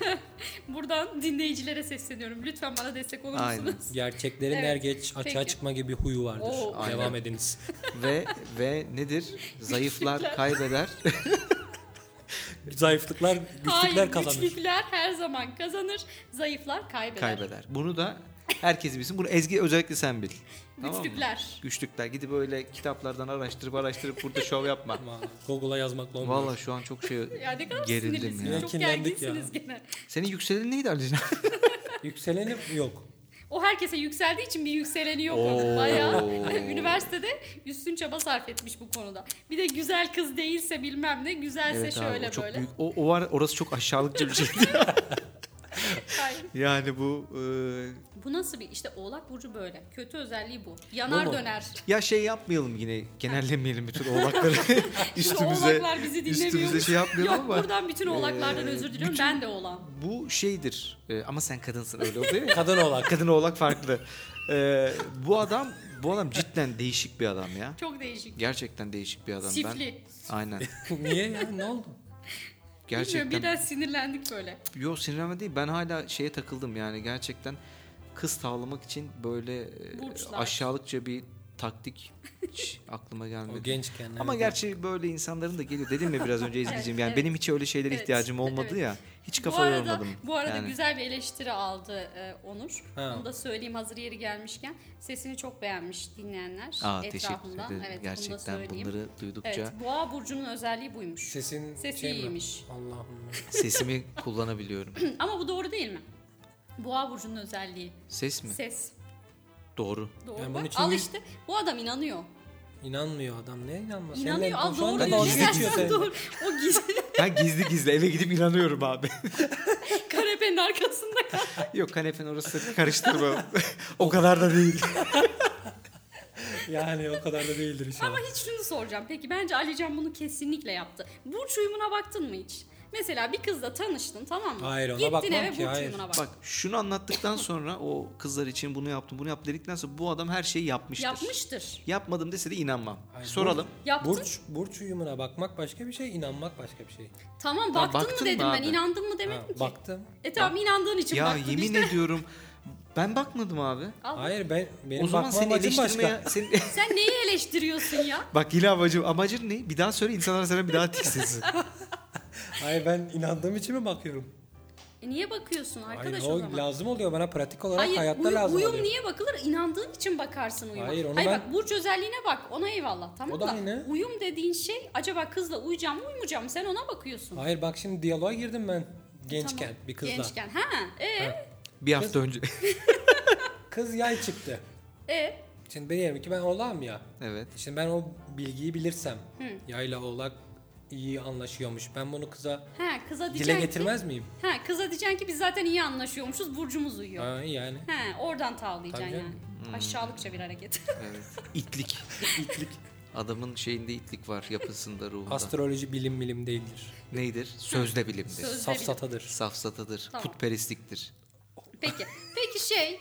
S1: Buradan dinleyicilere sesleniyorum. Lütfen bana destek olur
S2: Aynen.
S1: musunuz?
S3: Gerçeklerin
S1: Evet,
S3: er geç açığa
S1: peki.
S3: çıkma gibi bir huyu vardır.
S1: Oo.
S2: Aynen.
S3: Devam ediniz.
S2: ve ve nedir? Zayıflar
S1: Güçlükler.
S2: kaybeder.
S3: Zayıflıklar, güçlükler
S1: Hayır,
S3: kazanır.
S1: güçlükler her zaman kazanır. Zayıflar kaybeder.
S2: kaybeder. Bunu da herkes bilsin. Bunu Ezgi özellikle sen bil. Tamam mı?
S1: Güçlükler.
S2: Güçlükler. Gidip öyle kitaplardan araştırıp araştırıp burada şov yapma.
S3: Ama Google'a yazmakla olmuyor.
S2: Vallahi şu an çok şey
S1: Ya ne kadar
S2: gerildim
S1: sinirlisiniz.
S2: ya.
S3: ya.
S1: Çok
S3: Kinlendik
S1: gerginsiniz gene.
S2: Senin yükselen neydi Ali?
S3: Yükseleni yok.
S1: O herkese yükseldiği için bir yükseleni yok.
S2: Oo.
S1: onun. Bayağı üniversitede üstün çaba sarf etmiş bu konuda. Bir de güzel kız değilse bilmem ne, güzelse
S2: abi,
S1: şöyle
S2: o çok
S1: böyle.
S2: büyük. O, o var orası çok aşağılıkça bir şey. şeydi.
S1: Hayır.
S2: yani bu e,
S1: Bu nasıl bir işte Oğlak burcu böyle. Kötü özelliği bu. Yanar
S3: Bu mu?
S1: döner.
S2: ya şey yapmayalım yine genellemeyelim bütün oğlakları üstümüze.
S1: oğlaklar bizi
S2: üstümüze
S1: dinlemiyormuş.
S2: şey yapmayalım
S1: Yok
S2: ama.
S1: buradan bütün oğlaklardan
S2: Ee,
S1: özür diliyorum.
S2: bütün-
S1: Ben de oğlan.
S2: Bu şeydir. E, ama sen kadınsın öyle oluyor ya.
S3: Kadın olarak.
S2: Kadın oğlak farklı. E, bu adam bu adam cidden değişik bir adam ya.
S1: Çok değişik.
S2: Gerçekten değişik bir adam. Ben,
S1: Sifli.
S2: aynen.
S3: Niye ya? Ne oldu?
S1: Bilmiyorum
S2: Gerçekten.
S1: birden sinirlendik böyle.
S2: Yo sinirlenme değil. Ben hala şeye takıldım yani gerçekten kız tavlamak için böyle e,
S1: Burçlar.
S2: aşağılıkça bir taktik hiç aklıma
S3: O
S2: gelmedi.
S3: gençken.
S2: Ama
S3: evet.
S2: gerçi böyle insanların da geliyor. Dedim mi biraz önce izleyeceğim. Yani
S1: evet.
S2: benim hiç öyle şeylere
S1: Evet,
S2: ihtiyacım olmadı
S1: evet.
S2: ya. Hiç
S1: Bu
S2: kafa
S1: arada,
S2: yormadım.
S1: bu arada
S2: yani.
S1: güzel bir eleştiri aldı e, Onur.
S3: Ha.
S1: Onu da söyleyeyim hazır yeri gelmişken. Sesini çok beğenmiş dinleyenler
S2: Aa, teşekkür
S1: etrafında.
S2: ederim.
S1: Evet, bunu da
S2: gerçekten
S1: söyleyeyim.
S2: bunları duydukça
S1: Evet, Boğa burcunun özelliği buymuş.
S3: Sesin
S1: Sesi
S3: mi?
S1: iyiymiş.
S3: Allah'ım.
S2: sesimi kullanabiliyorum.
S1: Ama bu doğru değil mi? Boğa burcunun özelliği.
S2: Ses mi?
S1: Ses.
S2: Doğru.
S1: Doğru. Bak,
S3: Yani bunun için
S1: al
S3: bir-
S1: işte. Bu adam inanıyor.
S3: İnanmıyor adam. Ne inanmaz?
S1: İnanıyor. Al doğru
S2: anda
S1: diyor.
S2: dalga
S1: Sen-
S2: geçiyor
S1: doğru. O gizli
S2: Ben gizli gizli eve gidip inanıyorum abi.
S1: kanepenin arkasında.
S2: Yok kanepenin orası karıştırma. o kadar da değil.
S3: Yani o kadar da değildir
S1: Ama
S3: inşallah.
S1: hiç şunu soracağım. Peki bence Alican bunu kesinlikle yaptı. Burç uyumuna baktın mı hiç? Mesela bir kızla tanıştın tamam mı?
S3: Hayır, ona
S1: Gittin
S3: bakmam
S1: eve
S3: ki,
S1: burç
S3: hayır.
S1: uyumuna bak.
S2: Bak şunu anlattıktan sonra o kızlar için bunu yaptım bunu yaptım dedikten sonra bu adam her şeyi yapmıştır.
S1: Yapmıştır.
S2: Yapmadım dese de inanmam.
S3: Hayır,
S2: Soralım.
S1: Yaptın.
S3: Burç, burç uyumuna bakmak başka bir şey, inanmak başka bir şey.
S1: Tamam
S2: Tamam,
S1: baktın,
S2: baktın
S1: mı dedim
S2: mı
S1: ben.
S2: abi?
S1: inandın mı
S3: Ha,
S1: demedim ki.
S3: baktım.
S1: E tamam inandığın için
S2: ya
S1: baktın
S2: yemin
S1: işte.
S2: ediyorum ben bakmadım abi.
S1: Al.
S3: Hayır ben benim
S2: o zaman
S3: bakma
S2: seni
S3: amacım başka.
S2: eleştirmeye... Seni...
S1: Sen neyi eleştiriyorsun ya?
S2: Bak yine amacım. Amacın ne? Bir daha söyle insanlar sana bir daha tiksinsin.
S3: Hayır ben inandığım için mi bakıyorum?
S1: E niye bakıyorsun arkadaş
S3: Hayır,
S1: o
S3: o
S1: zaman?
S3: lazım oluyor bana pratik olarak
S1: Hayır,
S3: hayatta
S1: uy-
S3: lazım
S1: uyum
S3: oluyor.
S1: niye bakılır? İnandığın için bakarsın uyuma.
S3: Hayır, onu ben-
S1: bak burç özelliğine bak. Ona eyvallah tamam
S3: O da
S1: da
S3: aynı.
S1: uyum dediğin şey acaba kızla uyuyacağım mı uyumayacağım mı? Sen ona bakıyorsun.
S3: Hayır bak şimdi diyaloğa girdim ben gençken
S1: Tamam.
S3: bir kızla.
S1: Gençken. Ha, e,
S2: Bir hafta önce.
S3: Kız yay çıktı.
S1: e,
S3: Şimdi diyelim ki ben oğlağım ya.
S2: evet.
S3: Şimdi ben o bilgiyi bilirsem yayla oğlak iyi anlaşıyormuş. Ben bunu kıza
S1: ha, kıza
S3: dile
S1: diyeceksin
S3: getirmez miyim?
S1: ki. Ha, kıza diyeceksin ki biz zaten iyi anlaşıyormuşuz. Burcumuz uyuyor.
S3: Ha, yani.
S1: Ha, oradan tavlayacaksın
S3: Tabii
S1: yani.
S3: canım.
S2: Hmm.
S1: Aşağılıkça bir hareket.
S2: evet. İtlik. İtlik. Adamın şeyinde itlik var yapısında ruhunda.
S3: Astroloji bilim bilim değildir.
S2: Neydir? Sözde bilimdir.
S1: Söz- Sözde bilim.
S3: Safsatadır.
S2: Safsatadır.
S1: Tamam.
S2: Putperestliktir.
S1: Peki. Peki şey,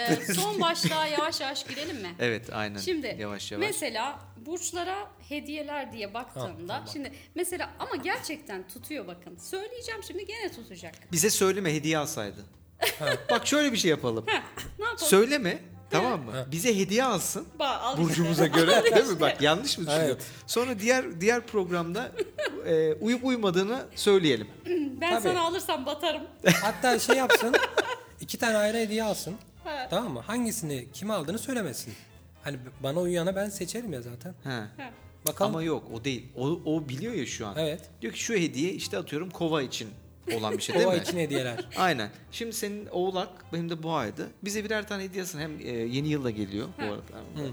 S1: e, son başlığa yavaş yavaş girelim mi?
S2: Evet aynen.
S1: Şimdi
S2: yavaş yavaş.
S1: mesela burçlara hediyeler diye baktığımda
S3: tamam.
S1: şimdi mesela ama gerçekten tutuyor bakın. Söyleyeceğim şimdi gene tutacak.
S2: Bize söyleme hediye alsaydı. Bak şöyle bir şey yapalım.
S1: Ne yapalım?
S2: söyleme tamam mı? Bize hediye alsın.
S1: Ba- al
S2: Burcumuza göre değil mi? Bak yanlış mı düşünüyorum?
S3: Evet.
S2: Sonra diğer diğer programda e, uyup uymadığını söyleyelim.
S1: ben
S3: Tabii.
S1: sana alırsam batarım.
S3: Hatta şey yapsın. iki tane ayrı hediye alsın.
S1: Ha.
S3: Tamam mı? Hangisini kime aldığını söylemesin. Hani bana uyuyana ben seçerim ya zaten.
S2: Ha.
S3: Bakalım.
S2: Ama yok o değil. O, o biliyor ya şu an.
S3: Evet.
S2: Diyor ki şu hediye işte atıyorum kova için olan bir şey değil
S3: Kova
S2: mi?
S3: için hediyeler.
S2: Aynen. Şimdi senin oğlak benim de boğaydı. Bize birer tane hediyesin. Hem e, yeni yılda geliyor bu arada.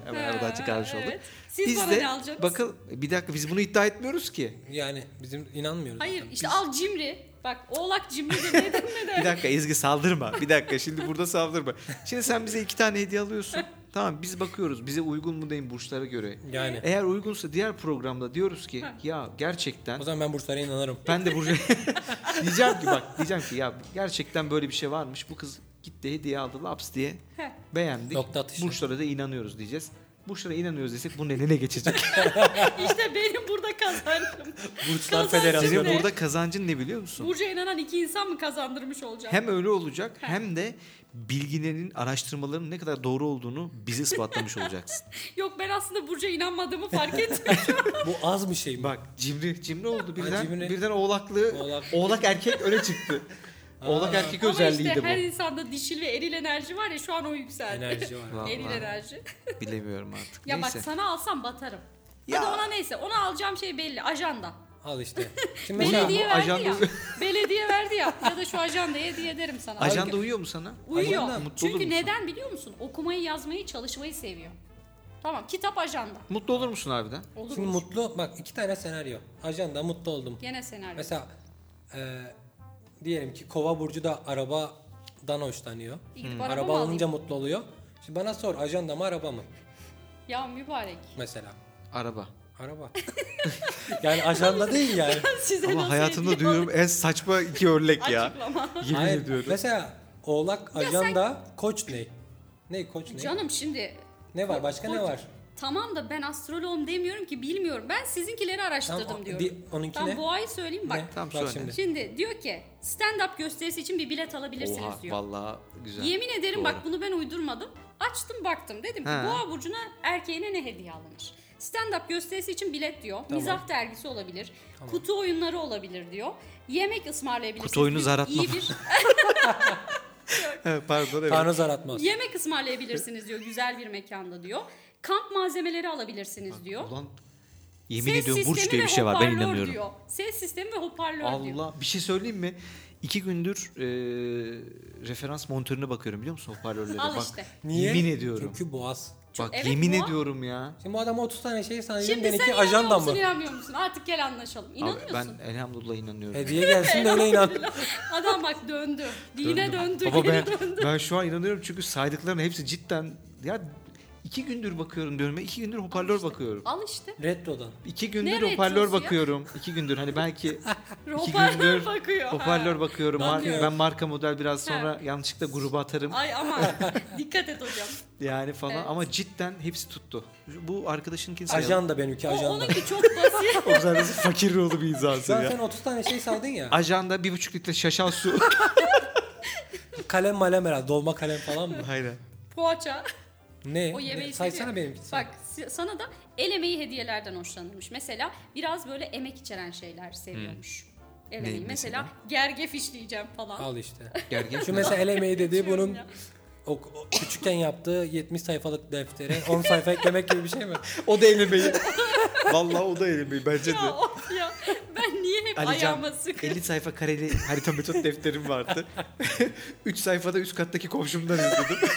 S2: Hemen
S1: Ha,
S2: aradan çıkarmış
S1: evet.
S2: olduk.
S1: Siz
S2: biz
S1: bana
S2: de
S1: ne alacaksınız?
S2: bakın bir dakika biz bunu iddia etmiyoruz ki.
S3: Yani bizim inanmıyoruz.
S1: Hayır
S3: zaten.
S1: işte al cimri. Bak oğlak cimri de ne dedin ne
S2: Bir
S1: de.
S2: dakika Ezgi saldırma. Bir dakika şimdi burada saldırma. Şimdi sen bize iki tane hediye alıyorsun. Tamam biz bakıyoruz bize uygun mu değil mi burçlara göre.
S3: Yani.
S1: E-
S2: Eğer uygunsa diğer programda diyoruz ki ya gerçekten
S3: O zaman ben burçlara inanırım.
S2: ben de burcu diyeceğim ki bak diyeceğim ki ya gerçekten böyle bir şey varmış. Bu kız gitti hediye aldı laps diye
S1: Heh.
S2: beğendik.
S3: Nokta atışı.
S2: Burçlara da inanıyoruz diyeceğiz. Burçlara inanıyoruz desek bunun eline geçecek.
S1: İşte benim burada kazancım.
S3: Burçlar
S1: Kazancım
S3: Federasyonu.
S2: Senin
S1: ne?
S2: burada kazancın ne biliyor musun?
S1: Burcu inanan iki insan mı kazandırmış olacağım?
S2: Hem öyle olacak hem de bilgilerin, araştırmaların ne kadar doğru olduğunu bize ispatlamış olacaksın.
S1: Yok ben aslında Burcu'ya inanmadığımı fark etmiyorum.
S3: Bu az bir şey mi?
S2: Bak cimri, cimri oldu birden.
S3: cimri.
S2: Birden oğlaklı,
S3: Oğlak.
S2: oğlak. erkek öne çıktı. oğlak erkek
S1: Ama
S2: özelliği
S1: işte
S2: de bu.
S1: her insanda dişil ve eril enerji var ya şu an o yükseldi.
S3: Enerji var.
S2: Vallahi.
S1: Eril enerji.
S2: Bilemiyorum artık.
S1: Ya
S2: Neyse.
S1: bak sana alsam batarım.
S2: Ya.
S1: Hadi ona neyse. Ona alacağım şey belli. Ajanda.
S3: Al işte. Şimdi mesela
S1: Belediye
S2: bu
S1: verdi
S2: ajanda-
S1: ya. Belediye verdi ya. Ya da şu ajandayı hediye ederim sana.
S2: Ajanda uyuyor mu sana?
S1: Uyuyor.
S2: Ajanda mutlu olur
S1: Çünkü
S2: musun?
S1: neden biliyor musun? Okumayı, yazmayı, çalışmayı seviyor. Tamam kitap ajanda.
S2: Mutlu olur musun harbiden?
S1: Olur
S3: Şimdi
S1: mu?
S3: mutlu bak iki tane senaryo. Ajanda mutlu oldum.
S1: Gene senaryo.
S3: Mesela e, diyelim ki Kova burcu da arabadan hoşlanıyor. Hmm.
S1: İyi, gidip araba
S3: Araba
S1: mı
S3: alınca
S1: alayım?
S3: mutlu oluyor. Şimdi bana sor ajanda mı araba mı?
S1: Ya mübarek.
S3: Mesela.
S2: Araba.
S3: Araba. yani ajanda değil yani.
S1: Size
S2: Ama
S1: nasıl
S2: hayatımda
S1: hediye
S2: duyduğum en saçma iki örnek
S3: şey
S1: aldım?
S2: ya.
S1: Açıklama.
S2: Yemin
S3: Hayır.
S2: ediyorum.
S3: Mesela oğlak ajanda koç ne? Ne koç ne?
S1: Canım şimdi
S3: ne var başka ne
S1: Koç-
S3: var?
S1: Tamam da ben astroloğum demiyorum ki bilmiyorum. Ben sizinkileri araştırdım
S3: Tamam, o-
S1: diyorum.
S3: di- onunki
S1: tamam,
S3: ne?
S1: boğayı söyleyeyim bak.
S3: ne?
S2: Tamam,
S3: bak
S2: söyle.
S3: şimdi.
S1: Şimdi diyor ki stand-up gösterisi için bir bilet alabilirsiniz
S2: Oha
S1: diyor.
S2: vallahi güzel.
S1: Yemin ederim
S2: Doğru.
S1: bak bunu ben uydurmadım. Açtım baktım dedim ki
S2: He.
S1: boğa burcuna erkeğine ne hediye alınır? Stand-up gösterisi için bilet diyor. Mizah dergisi olabilir. Kutu oyunları olabilir diyor. Yemek ısmarlayabilirsiniz.
S2: Kutu oyunu
S1: Bir-
S2: zar atma.
S1: iyi bir
S2: He, Pardon evet.
S3: Tanrı zar atmaz.
S1: yemek ısmarlayabilirsiniz diyor güzel bir mekanda diyor. Kamp malzemeleri alabilirsiniz diyor.
S2: Ulan yemin
S1: Ses
S2: ediyorum burç
S1: sistemi
S2: diye
S1: ve
S2: bir şey var ben
S1: hoparlör
S2: inanıyorum.
S1: Diyor. Ses sistemi ve hoparlör diyor.
S2: Allah bir şey söyleyeyim mi? İki gündür e, referans monitörüne bakıyorum biliyor musun hoparlörlere?
S1: Al
S2: Bak,
S1: işte.
S3: Niye?
S2: Yemin ediyorum.
S3: Çünkü boğaz.
S2: Bak
S1: Evet,
S2: yemin
S1: bu-
S2: ediyorum ya.
S3: Şimdi bu adam 30 tane şey sana
S1: Şimdi
S3: ben
S1: sen
S3: iki
S1: inanıyor
S3: ajanda
S1: musun
S3: mı?
S1: inanmıyor musun? Artık gel anlaşalım.
S2: Abi
S1: İnanıyorsun.
S2: ben elhamdülillah inanıyorum.
S3: Hediye gelsin de öyle inan.
S1: Adam bak döndü. Dine döndü.
S2: Baba
S1: geri
S2: ben,
S1: döndü.
S2: ben şu an inanıyorum çünkü saydıkların hepsi cidden ya iki gündür bakıyorum diyorum. Ben iki gündür hoparlör bakıyorum.
S1: Al işte.
S3: Retrodan.
S2: İki gündür
S1: Nereye
S2: hoparlör
S1: çözüyor?
S2: bakıyorum. İki gündür hani belki iki
S1: Hoparlör
S2: gündür
S1: bakıyor.
S2: hoparlör
S1: Ha.
S2: bakıyorum. Mar-
S3: Bakıyor.
S2: ben marka model biraz sonra yanlışlıkla gruba atarım
S1: Ay ama dikkat et hocam.
S2: yani falan
S1: Evet.
S2: ama cidden hepsi tuttu. Bu arkadaşınkini sayalım.
S3: Ajanda benimki
S1: O,
S3: ajanda.
S1: onunki çok basit.
S2: O sen nasıl fakir ruhlu bir insansın
S3: Zaten
S2: ya.
S3: 30 tane şey saydın ya.
S2: Ajanda bir buçuk litre şaşal su.
S3: kalem malem herhalde. Dolma kalem falan mı?
S2: Aynen.
S1: Poğaça.
S3: Ne?
S1: O yemeği
S3: Ne? Saysana
S1: seviyor.
S3: benimki.
S1: Bak si- sana da el emeği hediyelerden hoşlanırmış. Mesela biraz böyle emek içeren şeyler seviyormuş. elemeyi.
S2: Ney
S1: mesela?
S2: Hmm. mesela?
S1: gerge fişleyeceğim falan.
S3: Al işte.
S2: Gergin.
S3: Şu mesela elemeyi dediği
S1: Atıyorum
S3: bunun
S1: ya.
S3: o, o küçükken yaptığı 70 sayfalık deftere 10 sayfa eklemek gibi bir şey mi?
S2: o da elemeyi. Vallahi o da elemeyi bence de.
S1: Ya of ya. Ben niye hep
S2: Alican
S1: ayağıma sıkı?
S2: 50 sayfa kareli harita metot defterim vardı. 3 sayfada üst kattaki komşumdan izledim.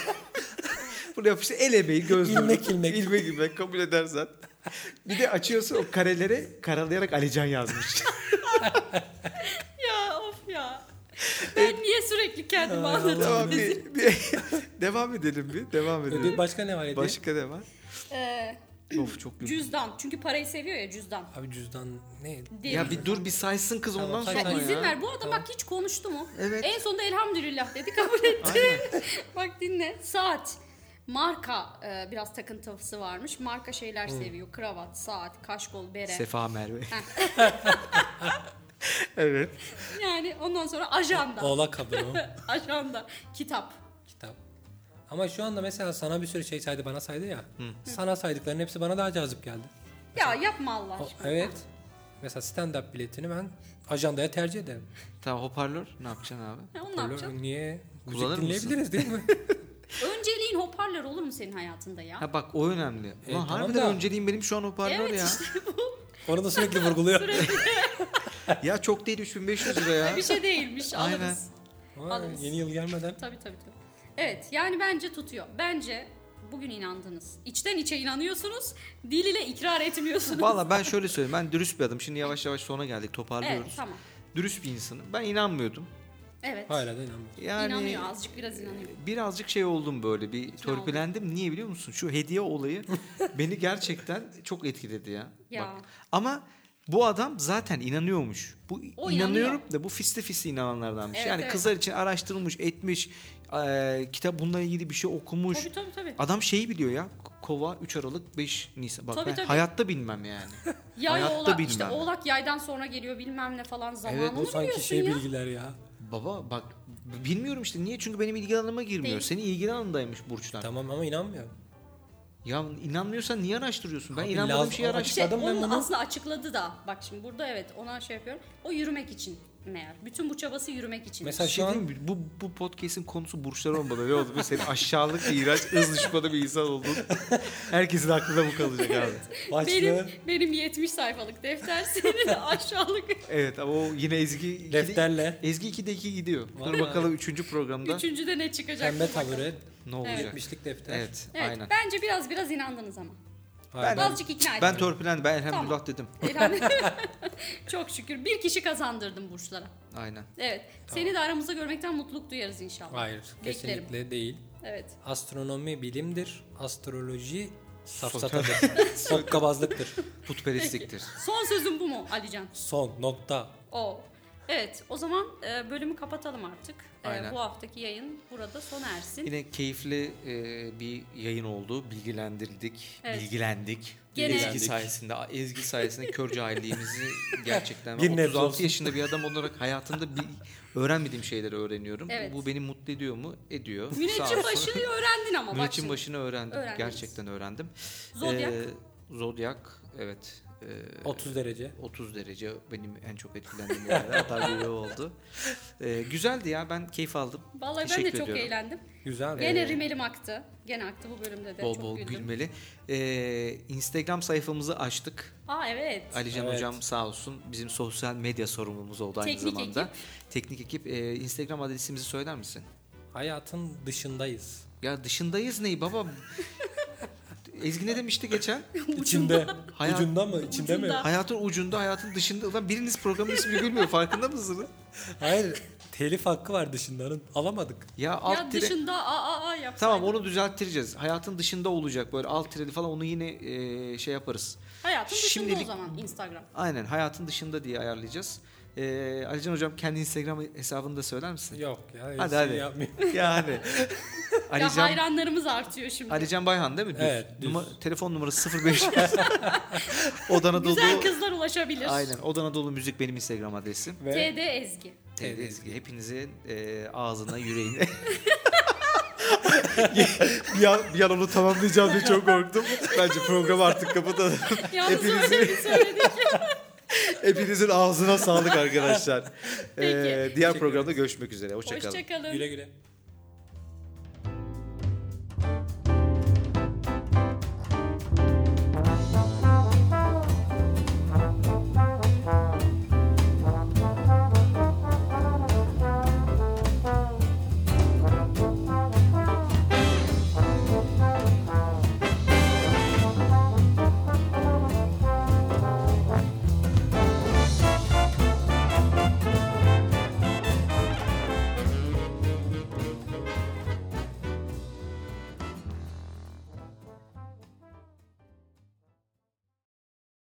S2: Bunu yapıştı el emeği gözlüğü.
S3: İlmek ilmek.
S2: İlmek ilmek kabul edersen. Bir de açıyorsun o karelere karalayarak Alican yazmış.
S1: Ya of ya. Ben niye sürekli kendimi anlatıyorum?
S2: tamam bir, bir- devam edelim bir. Devam
S3: Ödül
S2: edelim.
S3: başka ne var hediye?
S2: Başka ne var?
S1: Ee,
S2: Of çok güzel.
S1: cüzdan. Çünkü parayı seviyor ya cüzdan.
S3: Abi cüzdan ne?
S1: Değil
S2: Ya bir dur bir saysın kız
S3: Tamam,
S2: ondan
S3: say-
S2: sonra.
S1: Ya
S3: Tamam
S1: izin
S3: ya.
S1: ver. Bu adam
S3: Tamam.
S1: bak hiç konuştu mu?
S2: Evet.
S1: En sonunda elhamdülillah dedi kabul etti. bak dinle. Saat. Marka e, biraz takıntısı varmış. Marka şeyler seviyor. Kravat, saat, kaşkol, bere.
S2: Sefa Merve. evet.
S1: yani ondan sonra ajanda.
S3: Oğlak kabuğu.
S1: ajanda. Kitap.
S3: kitap. Ama şu anda mesela sana bir sürü şey saydı bana saydı ya. Sana saydıkların hepsi bana daha cazip geldi.
S1: Ya yapma Allah
S3: O-
S1: aşkına.
S3: evet. Mesela stand-up biletini ben ajandaya tercih ederim.
S2: Tamam hoparlör ne yapacaksın abi?
S1: Ya onu ne yapacaksın?
S3: Öyle Niye? Müzik
S2: Kullanır mısın?
S3: dinleyebiliriz değil mi?
S1: Önceliğin hoparlör olur mu senin hayatında ya?
S2: Ha bak o önemli. Ulan
S3: E, tamam
S2: harbiden
S3: da-
S2: önceliğim benim şu an hoparlör
S1: evet
S2: ya.
S1: işte bu
S3: Orada sürekli vurguluyor.
S2: ya çok değil 3500 lira ya.
S1: bir şey değilmiş.
S2: Aynen.
S1: Alırız.
S3: Vay,
S1: Alırız.
S3: yeni yıl gelmeden.
S1: Tabii tabii tabii. Evet yani bence tutuyor. Bence bugün inandınız. İçten içe inanıyorsunuz. Dil ile ikrar etmiyorsunuz.
S2: Valla ben şöyle söyleyeyim ben dürüst bir adam. Şimdi yavaş yavaş sona geldik
S1: evet
S2: toparlıyoruz.
S1: tamam.
S2: Dürüst bir insanım. Ben inanmıyordum.
S1: Evet.
S3: Hala da inanmıyorum.
S2: Yani
S1: İnanıyor azıcık biraz inanıyor.
S2: birazcık şey oldum böyle bir
S1: oldum.
S2: törpülendim. Niye biliyor musun? Şu hediye olayı beni gerçekten çok etkiledi ya.
S1: Ya.
S2: Bak. Ama bu adam zaten inanıyormuş. Bu
S1: O
S2: inanıyorum
S1: inanıyor.
S2: da bu fisli fisli inananlardanmış.
S1: Evet,
S2: yani
S1: evet.
S2: kızlar için araştırılmış, etmiş, eee, kitap bununla ilgili bir şey okumuş.
S1: Tabii tabii tabii.
S2: Adam şeyi biliyor ya. Kova 3 Aralık 5 Nisan. Bak
S1: Tabii,
S2: ben
S1: tabii.
S2: hayatta bilmem yani.
S1: Yay
S2: hayatta
S1: oğlak işte
S2: bilmem.
S1: oğlak yaydan sonra geliyor bilmem ne falan zamanını
S2: Evet,
S1: evet,
S2: o
S3: Bu sanki şey
S1: ya.
S3: bilgiler ya.
S2: Baba bak bilmiyorum işte niye çünkü benim ilgi alanıma girmiyor.
S1: Değil.
S2: Senin ilgi alanındaymış burçlar.
S3: Tamam ama inanmıyorum.
S2: Ya inanmıyorsan niye araştırıyorsun? Ben
S3: Abi
S2: inanmadığım
S3: lazım-
S2: şeyi
S3: Ama
S2: araştır.
S1: Şey,
S3: Açıkladım ben
S1: onu
S3: bunu.
S1: aslında açıkladı da. Bak şimdi burada evet ona şey yapıyorum. O yürümek için meğer. Bütün bu çabası yürümek için.
S3: Mesela
S2: Bir şey
S3: şu an
S2: diyeyim mi? bu bu podcast'in konusu burçlar olmadı. Ne oldu? Böyle Senin aşağılık, iğrenç, ız düşmanı bir insan oldun. Herkesin aklında bu kalacak abi.
S3: başlığı
S1: Benim, benim 70 sayfalık defter senin aşağılık
S2: Evet ama o yine Ezgi 2'de
S3: defterle
S2: Ezgi 2'de 2 gidiyor. Dur
S3: Vallahi.
S2: bakalım 3. programda
S1: üçüncüde ne çıkacak?
S3: pembe
S1: Dur bakalım.
S3: tabure
S2: ne olacak? Evet.
S3: etmişlik defter.
S1: Evet
S2: aynen.
S1: bence biraz biraz inandınız ama.
S3: Hayır, ben-
S1: Azıcık ikna
S2: Ben
S1: ettim.
S2: törpülendim. Ben elhamdülillah
S1: Tamam.
S2: dedim.
S1: Elhamdülillah. Çok şükür bir kişi kazandırdım burçlara.
S2: Aynen.
S1: Evet. Seni de aramızda görmekten mutluluk duyarız inşallah.
S3: Hayır
S1: Beklerim.
S3: kesinlikle değil.
S1: Evet.
S3: Astronomi bilimdir. Astroloji safsatadır. Sokkabazlıktır.
S2: Putperestliktir.
S1: Son sözüm bu mu Alican?
S3: Son nokta.
S1: O. Evet o zaman e, bölümü kapatalım artık. E,
S2: Aynen.
S1: bu haftaki yayın burada sona ersin.
S2: Yine keyifli e, bir yayın oldu. Bilgilendirdik,
S1: Evet.
S2: bilgilendik.
S1: Gene-
S2: Ezgi sayesinde, Ezgi sayesinde kör cahilliğimizi gerçekten
S3: Bir
S2: ben
S3: nebze
S2: 36
S3: olsun.
S2: yaşında bir adam olarak hayatımda bir öğrenmediğim şeyleri öğreniyorum.
S1: Evet.
S2: Bu beni mutlu ediyor mu? Ediyor.
S1: Müneccin başını öğrendin ama bak
S2: Müneccin
S1: şimdi.
S2: başını öğrendim.
S1: Öğrendiniz.
S2: Gerçekten öğrendim.
S1: Zodyak.
S2: Ee, zodyak evet. Ee,
S3: 30 derece.
S2: 30 derece benim en çok etkilendiğim yerler hatta biri oldu. Ee, güzeldi ya ben keyif aldım.
S1: Vallahi ben de
S2: Teşekkür
S1: çok
S2: ediyorum. e,
S1: eğlendim.
S3: Güzel.
S1: Gene rimelim aktı. Gene aktı bu bölümde de.
S2: Bol
S1: çok
S2: bol
S1: güldüm.
S2: gülmeli. Ee, Instagram sayfamızı açtık.
S1: Aa evet.
S2: Alican
S3: Evet.
S2: hocam sağ olsun bizim sosyal medya sorumlumuz oldu aynı
S1: Teknik
S2: zamanda. Teknik ekip. Ee, Instagram adresimizi söyler misin?
S3: Hayatın dışındayız.
S2: Ya dışındayız neyi baba? Ezgi ne demişti geçen?
S3: İçinde.
S2: Hayat-
S3: Ucunda mı? İçinde mi?
S1: Ucunda.
S2: Hayatın ucunda, hayatın dışında. Ulan biriniz programın ismi gülmüyor farkında mısınız?
S3: Hayır. Telif hakkı var dışındanın. Alamadık.
S2: Ya alt
S1: Ya
S2: dire-
S1: dışında a a a yapsaydın.
S2: Tamam onu düzelttireceğiz. Hayatın dışında olacak böyle alt tireli falan onu yine e, şey yaparız.
S1: Hayatın dışında
S2: Şimdilik-
S1: o zaman Instagram.
S2: Aynen hayatın dışında diye ayarlayacağız. Ee, Alican hocam kendi Instagram hesabını da söyler misin?
S3: Yok ya.
S2: Hadi,
S3: Hadi
S2: hadi.
S3: hadi. Yapmayayım.
S2: yani.
S1: Ya
S2: Alican,
S1: hayranlarımız artıyor şimdi.
S2: Alican Bayhan değil mi? Düz.
S3: Evet, düz.
S2: Numa- telefon numarası 05. Odana dolu.
S1: Güzel kızlar ulaşabilir.
S2: Aynen. Odana dolu müzik benim Instagram adresim.
S3: Ve
S1: TD Ezgi.
S2: TD Ezgi. Hepinizin e, ağzına, yüreğine. bir, an, bir an onu tamamlayacağım diye çok korktum. Bence programı artık kapatalım.
S1: Yalnız öyle bir söyledik.
S2: Hepinizin ağzına sağlık arkadaşlar.
S1: Peki.
S2: Ee, diğer programda görüşmek üzere. Hoşçakalın.
S1: Hoşçakalın.
S3: Güle güle.